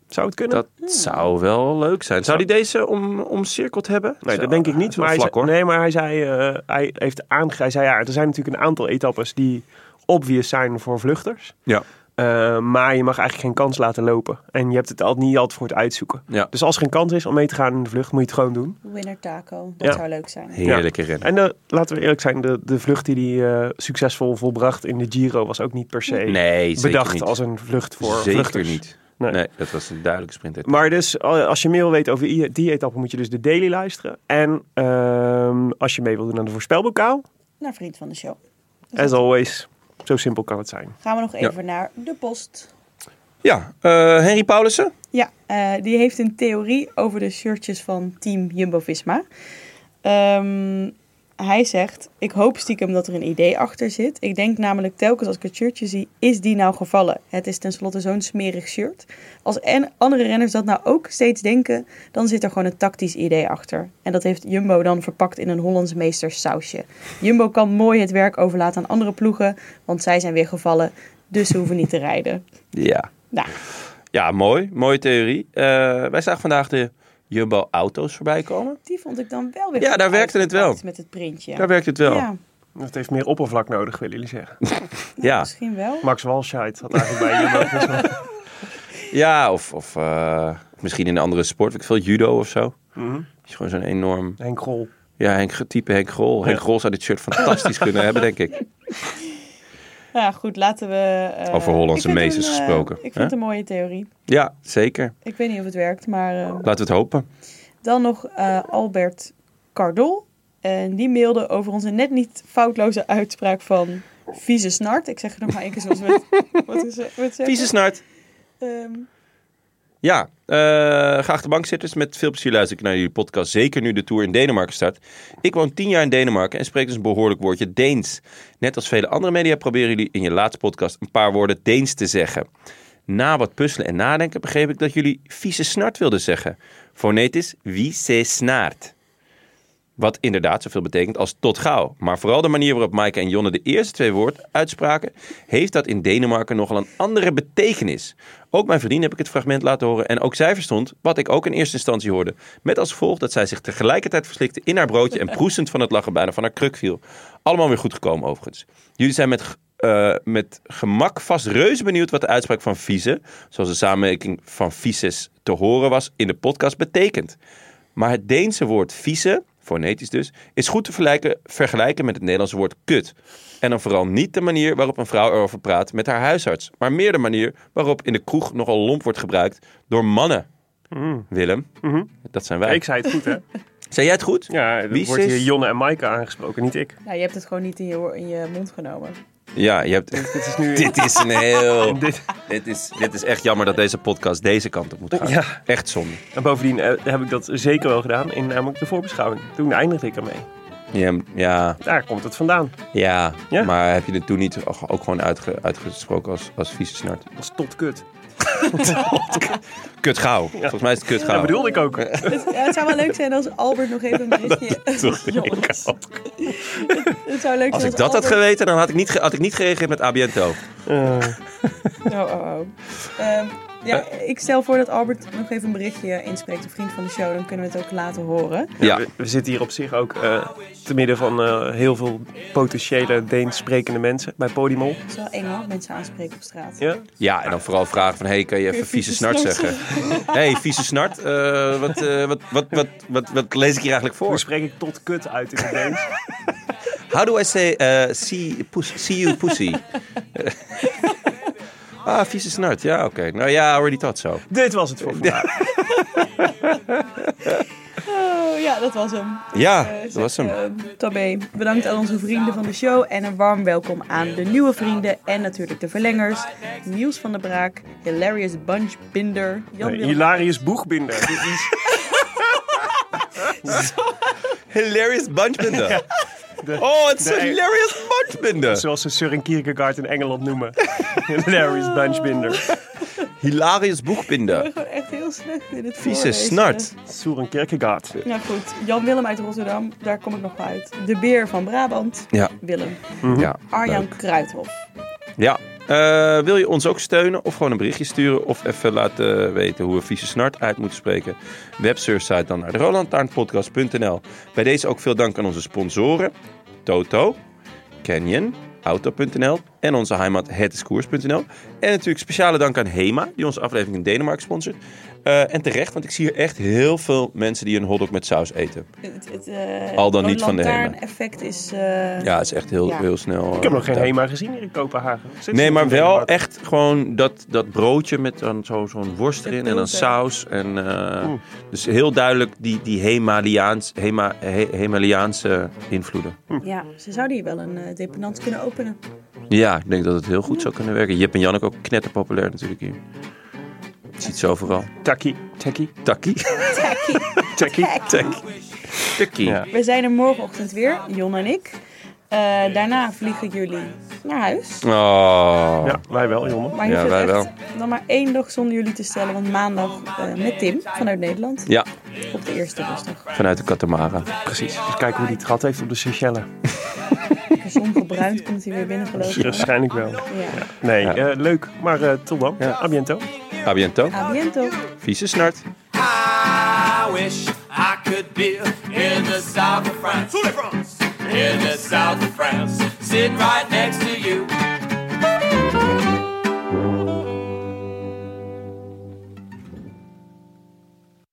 Speaker 1: Zou het kunnen?
Speaker 2: Dat
Speaker 3: Hmm.
Speaker 2: zou wel leuk zijn. Zou die deze om, omcirkeld hebben?
Speaker 1: nee,
Speaker 2: Zo,
Speaker 1: dat denk ik
Speaker 2: dat
Speaker 1: niet.
Speaker 2: is wel
Speaker 1: Maar hij,
Speaker 2: vlak,
Speaker 1: zei,
Speaker 2: hoor.
Speaker 1: nee, maar hij zei, eh, hij heeft aange... hij zei ja, er zijn natuurlijk een aantal etappes die obvious zijn voor vluchters.
Speaker 2: Ja.
Speaker 1: Eh, maar je mag eigenlijk geen kans laten lopen. En je hebt het altijd niet altijd voor het uitzoeken.
Speaker 2: Ja.
Speaker 1: Dus als er geen kans is om mee te gaan in de vlucht, moet je het gewoon doen.
Speaker 3: Winner Taco. Dat
Speaker 1: Ja.
Speaker 3: zou leuk zijn.
Speaker 2: Heerlijke rennen.
Speaker 1: En eh, laten we eerlijk zijn, de, de vlucht die, die hij eh, succesvol volbracht in de Giro was ook niet per se
Speaker 2: Nee, zeker
Speaker 1: bedacht
Speaker 2: niet.
Speaker 1: als een vlucht voor
Speaker 2: Zeker
Speaker 1: vluchters.
Speaker 2: niet.
Speaker 1: Nee.
Speaker 2: Nee. dat was een duidelijke sprint.
Speaker 1: Maar dus eh, als je meer wil weten over i- die etappe, moet je dus de daily luisteren. En ehm, als je mee wil doen aan de voorspelbokaal,
Speaker 3: Naar vriend van de show.
Speaker 1: as always, zo simpel kan het zijn.
Speaker 3: Gaan we nog even naar de post.
Speaker 2: Ja, eh, Henry Paulussen.
Speaker 3: Ja, eh, die heeft een theorie over de shirtjes van team Jumbo-Visma. Ehm, hij zegt, ik hoop stiekem dat er een idee achter zit. Ik denk namelijk telkens als ik het shirtje zie, is die nou gevallen? Het is tenslotte zo'n smerig shirt. Als en andere renners dat nou ook steeds denken, dan zit er gewoon een tactisch idee achter. En dat heeft Jumbo dan verpakt in een Hollands meesters sausje. Jumbo kan mooi het werk overlaten aan andere ploegen, want zij zijn weer gevallen. Dus ze hoeven niet te rijden.
Speaker 2: Ja.
Speaker 3: Nou,
Speaker 2: Ja, mooi. Mooie theorie. Eh, wij zagen vandaag de Jumbo Auto's voorbij komen.
Speaker 3: Die vond ik dan wel weer.
Speaker 2: Ja,
Speaker 3: goed
Speaker 2: daar werkte het wel.
Speaker 3: uitgepakt Met het printje.
Speaker 2: Daar werkt het wel. Ja.
Speaker 3: Ja,
Speaker 1: Dat heeft meer oppervlak nodig, willen jullie zeggen.
Speaker 2: Ja,
Speaker 3: misschien wel.
Speaker 1: Max Walscheid had eigenlijk bij Jumbo gezegd.
Speaker 2: of, of eh, misschien in een andere sport. Weet Ik veel judo of zo. Dat is gewoon zo'n enorm...
Speaker 1: Henk Grol.
Speaker 2: Ja, Henk, type Henk Grol. Henk Grol zou dit shirt fantastisch kunnen hebben, denk ik.
Speaker 3: Ja, goed, laten we. eh,
Speaker 2: Over Hollandse
Speaker 3: ik vind
Speaker 2: meesters
Speaker 3: een, eh,
Speaker 2: gesproken,
Speaker 3: Ik vind
Speaker 2: hè?
Speaker 3: het een mooie theorie.
Speaker 2: Ja, zeker.
Speaker 3: Ik weet niet of het werkt, maar. eh,
Speaker 2: Laten we het hopen.
Speaker 3: dan nog eh, Albert Cardol. En die mailde over onze net niet foutloze uitspraak van vieze snart. Ik zeg het nog maar één keer zoals we het- wat is het- wat zeggen.
Speaker 2: Vieze snart.
Speaker 3: Ehm,
Speaker 2: Ja, eh geachte bankzitters, met veel plezier luister ik naar jullie podcast. Zeker nu de tour in Denemarken start. Ik woon tien jaar in Denemarken en spreek dus een behoorlijk woordje Deens. Net als vele andere media proberen jullie in je laatste podcast een paar woorden Deens te zeggen. Na wat puzzelen en nadenken begreep ik dat jullie vieze snart wilden zeggen. Fonetisch vieze snaart. Wat inderdaad zoveel betekent als tot gauw. Maar vooral de manier waarop Maaike en Jonne de eerste twee woorden uitspraken, heeft dat in Denemarken nogal een andere betekenis. Ook mijn vriendin heb ik het fragment laten horen en ook zij verstond wat ik ook in eerste instantie hoorde. Met als gevolg dat zij zich tegelijkertijd verslikte in haar broodje en proestend van het lachen bijna van haar kruk viel. Allemaal weer goed gekomen overigens. Jullie zijn met, eh, met gemak vast reuze benieuwd wat de uitspraak van vieze, zoals de samenwerking van vices te horen was, in de podcast betekent. Maar het Deense woord vieze, fonetisch dus, is goed te vergelijken, vergelijken met het Nederlandse woord kut. En dan vooral niet de manier waarop een vrouw erover praat met haar huisarts, maar meer de manier waarop in de kroeg nogal lomp wordt gebruikt door mannen. Willem, dat zijn wij.
Speaker 1: Mm. Mhm. Ik zei het goed, hè?
Speaker 2: Zei jij het goed?
Speaker 1: Ja, dan
Speaker 2: Wie
Speaker 1: wordt
Speaker 2: is-
Speaker 1: hier Jonne en Maaike aangesproken, niet ik.
Speaker 3: nou, je hebt het gewoon niet in je, in je mond genomen.
Speaker 2: Ja, je hebt...
Speaker 1: Dit is nu...
Speaker 2: Dit is een heel.
Speaker 1: Dit-
Speaker 2: dit, is, dit is echt jammer dat deze podcast deze kant op moet gaan.
Speaker 1: Ja.
Speaker 2: Echt zonde.
Speaker 1: En bovendien eh, heb ik dat zeker wel gedaan in namelijk de voorbeschouwing. Toen eindigde ik ermee.
Speaker 2: Ja, ja,
Speaker 1: Daar komt het vandaan.
Speaker 2: ja,
Speaker 1: Ja.
Speaker 2: Maar heb je het toen niet ook gewoon uitge- uitgesproken als, als vieze snart?
Speaker 1: Dat is tot kut.
Speaker 2: Kut gauw. Volgens mij is het kut gauw.
Speaker 1: Dat bedoelde ik ook.
Speaker 3: Het, ja, het zou wel leuk zijn als Albert nog even een berichtje... Jongens. Het zou leuk
Speaker 2: Als
Speaker 3: zijn
Speaker 2: ik dat had
Speaker 3: Albert-
Speaker 2: geweten, dan had ik niet, ge- had ik niet gereageerd met Abiento.
Speaker 3: Oh, oh, oh. Ehm, ja,
Speaker 2: Eh.
Speaker 3: ik stel voor dat Albert nog even een berichtje inspreekt, een vriend van de show. Dan kunnen we het ook laten horen.
Speaker 2: Ja.
Speaker 1: We, we zitten hier op zich ook eh, te midden van eh, heel veel potentiële Deens sprekende mensen bij Podimol.
Speaker 3: Het is wel eng hoor, mensen aanspreken op straat.
Speaker 1: Ja?
Speaker 2: Ja, en dan vooral vragen van, hey, kan je even vieze snart zeggen? hey, vieze snart, eh, wat, eh, wat, wat, wat, wat, wat lees ik hier eigenlijk
Speaker 1: Hoe
Speaker 2: voor?
Speaker 1: spreek ik tot kut uit in het Deens?
Speaker 2: How do I say, eh, see, pus- see you pussy? ah, vieze snart, ja, oké. Nou ja, I already thought so.
Speaker 1: Dit was het voor vandaag.
Speaker 3: Oh, ja, dat was hem.
Speaker 2: Ja,
Speaker 3: Eh,
Speaker 2: dat
Speaker 3: zeg,
Speaker 2: was hem.
Speaker 3: eh, Tabé, bedankt aan onze vrienden van de show en een warm welkom aan de nieuwe vrienden en natuurlijk de verlengers. Niels van der Braak, Hilarious Bunchbinder, Jan
Speaker 1: Nee,
Speaker 3: Willem-
Speaker 1: Hilarius Boegbinder. Dit is-
Speaker 2: Hilarious bunchbinder. oh, het is
Speaker 1: de-
Speaker 2: een hilarious bunchbinder.
Speaker 1: Zoals ze Søren Kierkegaard in Engeland noemen. Hilarious Benchbinder.
Speaker 2: Hilarious
Speaker 3: Ik
Speaker 2: boekbinder.
Speaker 3: ben gewoon echt heel slecht in het
Speaker 2: Vieze
Speaker 3: voorlezen.
Speaker 2: snart.
Speaker 1: Søren Kierkegaard.
Speaker 3: Nou goed, Jan Willem uit Rotterdam, daar kom ik nog wel uit. De Beer van Brabant,
Speaker 2: Ja,
Speaker 3: Willem.
Speaker 2: ja.
Speaker 3: Arjan
Speaker 2: leuk.
Speaker 3: Kruithof.
Speaker 2: Ja. Eh, wil je ons ook steunen of gewoon een berichtje sturen of even laten weten hoe we vieze snart uit moeten spreken? Websurfsite dan naar rolandtaarnpodcast.nl. Bij deze ook veel dank aan onze sponsoren Toto, Canyon, Auto.nl en onze heimat hetiskoers.nl. En natuurlijk speciale dank aan Hema die onze aflevering in Denemarken sponsort. Eh, en terecht, want ik zie hier echt heel veel mensen die een hotdog met saus eten.
Speaker 3: Het, het, eh,
Speaker 2: Al dan niet van de
Speaker 3: Het effect is... eh,
Speaker 2: Ja, het is echt heel,
Speaker 3: Ja.
Speaker 2: heel snel. eh,
Speaker 1: Ik heb nog geen
Speaker 2: Hema.
Speaker 1: HEMA gezien hier in Kopenhagen. Zit ze
Speaker 2: Nee,
Speaker 1: nog
Speaker 2: maar
Speaker 1: in
Speaker 2: wel
Speaker 1: Denemarken?
Speaker 2: echt gewoon dat, dat broodje met dan zo- zo'n worst erin en dan
Speaker 3: pulper.
Speaker 2: saus. En, eh, Dus heel duidelijk die, die Hemaliaans, Hema, He- Hemaliaanse invloeden.
Speaker 3: Ja, ze zouden hier wel een eh dependant kunnen openen.
Speaker 2: Ja, ik denk dat het heel goed zou kunnen werken. Jip en Janneke ook knetterpopulair natuurlijk hier. Je ziet ze overal.
Speaker 1: Takkie. Takkie.
Speaker 2: Takkie.
Speaker 1: Takkie.
Speaker 2: Takkie. Takkie.
Speaker 1: Ja.
Speaker 3: We zijn er morgenochtend weer, Jon en ik. Eh, daarna vliegen jullie naar huis.
Speaker 2: Oh.
Speaker 1: Ja, wij wel, jongen.
Speaker 3: Maar je
Speaker 2: Ja,
Speaker 3: hoeft
Speaker 2: wij
Speaker 3: echt dan maar één dag zonder jullie te stellen. Want maandag eh, met Tim vanuit Nederland
Speaker 2: Ja,
Speaker 3: op de eerste rustdag.
Speaker 2: vanuit de Katamara.
Speaker 1: Precies. Dus kijken hoe die het gehad heeft op de Seychelles.
Speaker 3: Gezond gebruind komt hij weer binnen geloof ik.
Speaker 1: Waarschijnlijk wel.
Speaker 3: Ja.
Speaker 1: Nee, eh, leuk. Maar eh, tot dan. A biento.
Speaker 2: A biento.
Speaker 3: A biento.
Speaker 2: Vieze snart.
Speaker 4: I wish I could be in the south of France. In the south of France, sitting right next to you.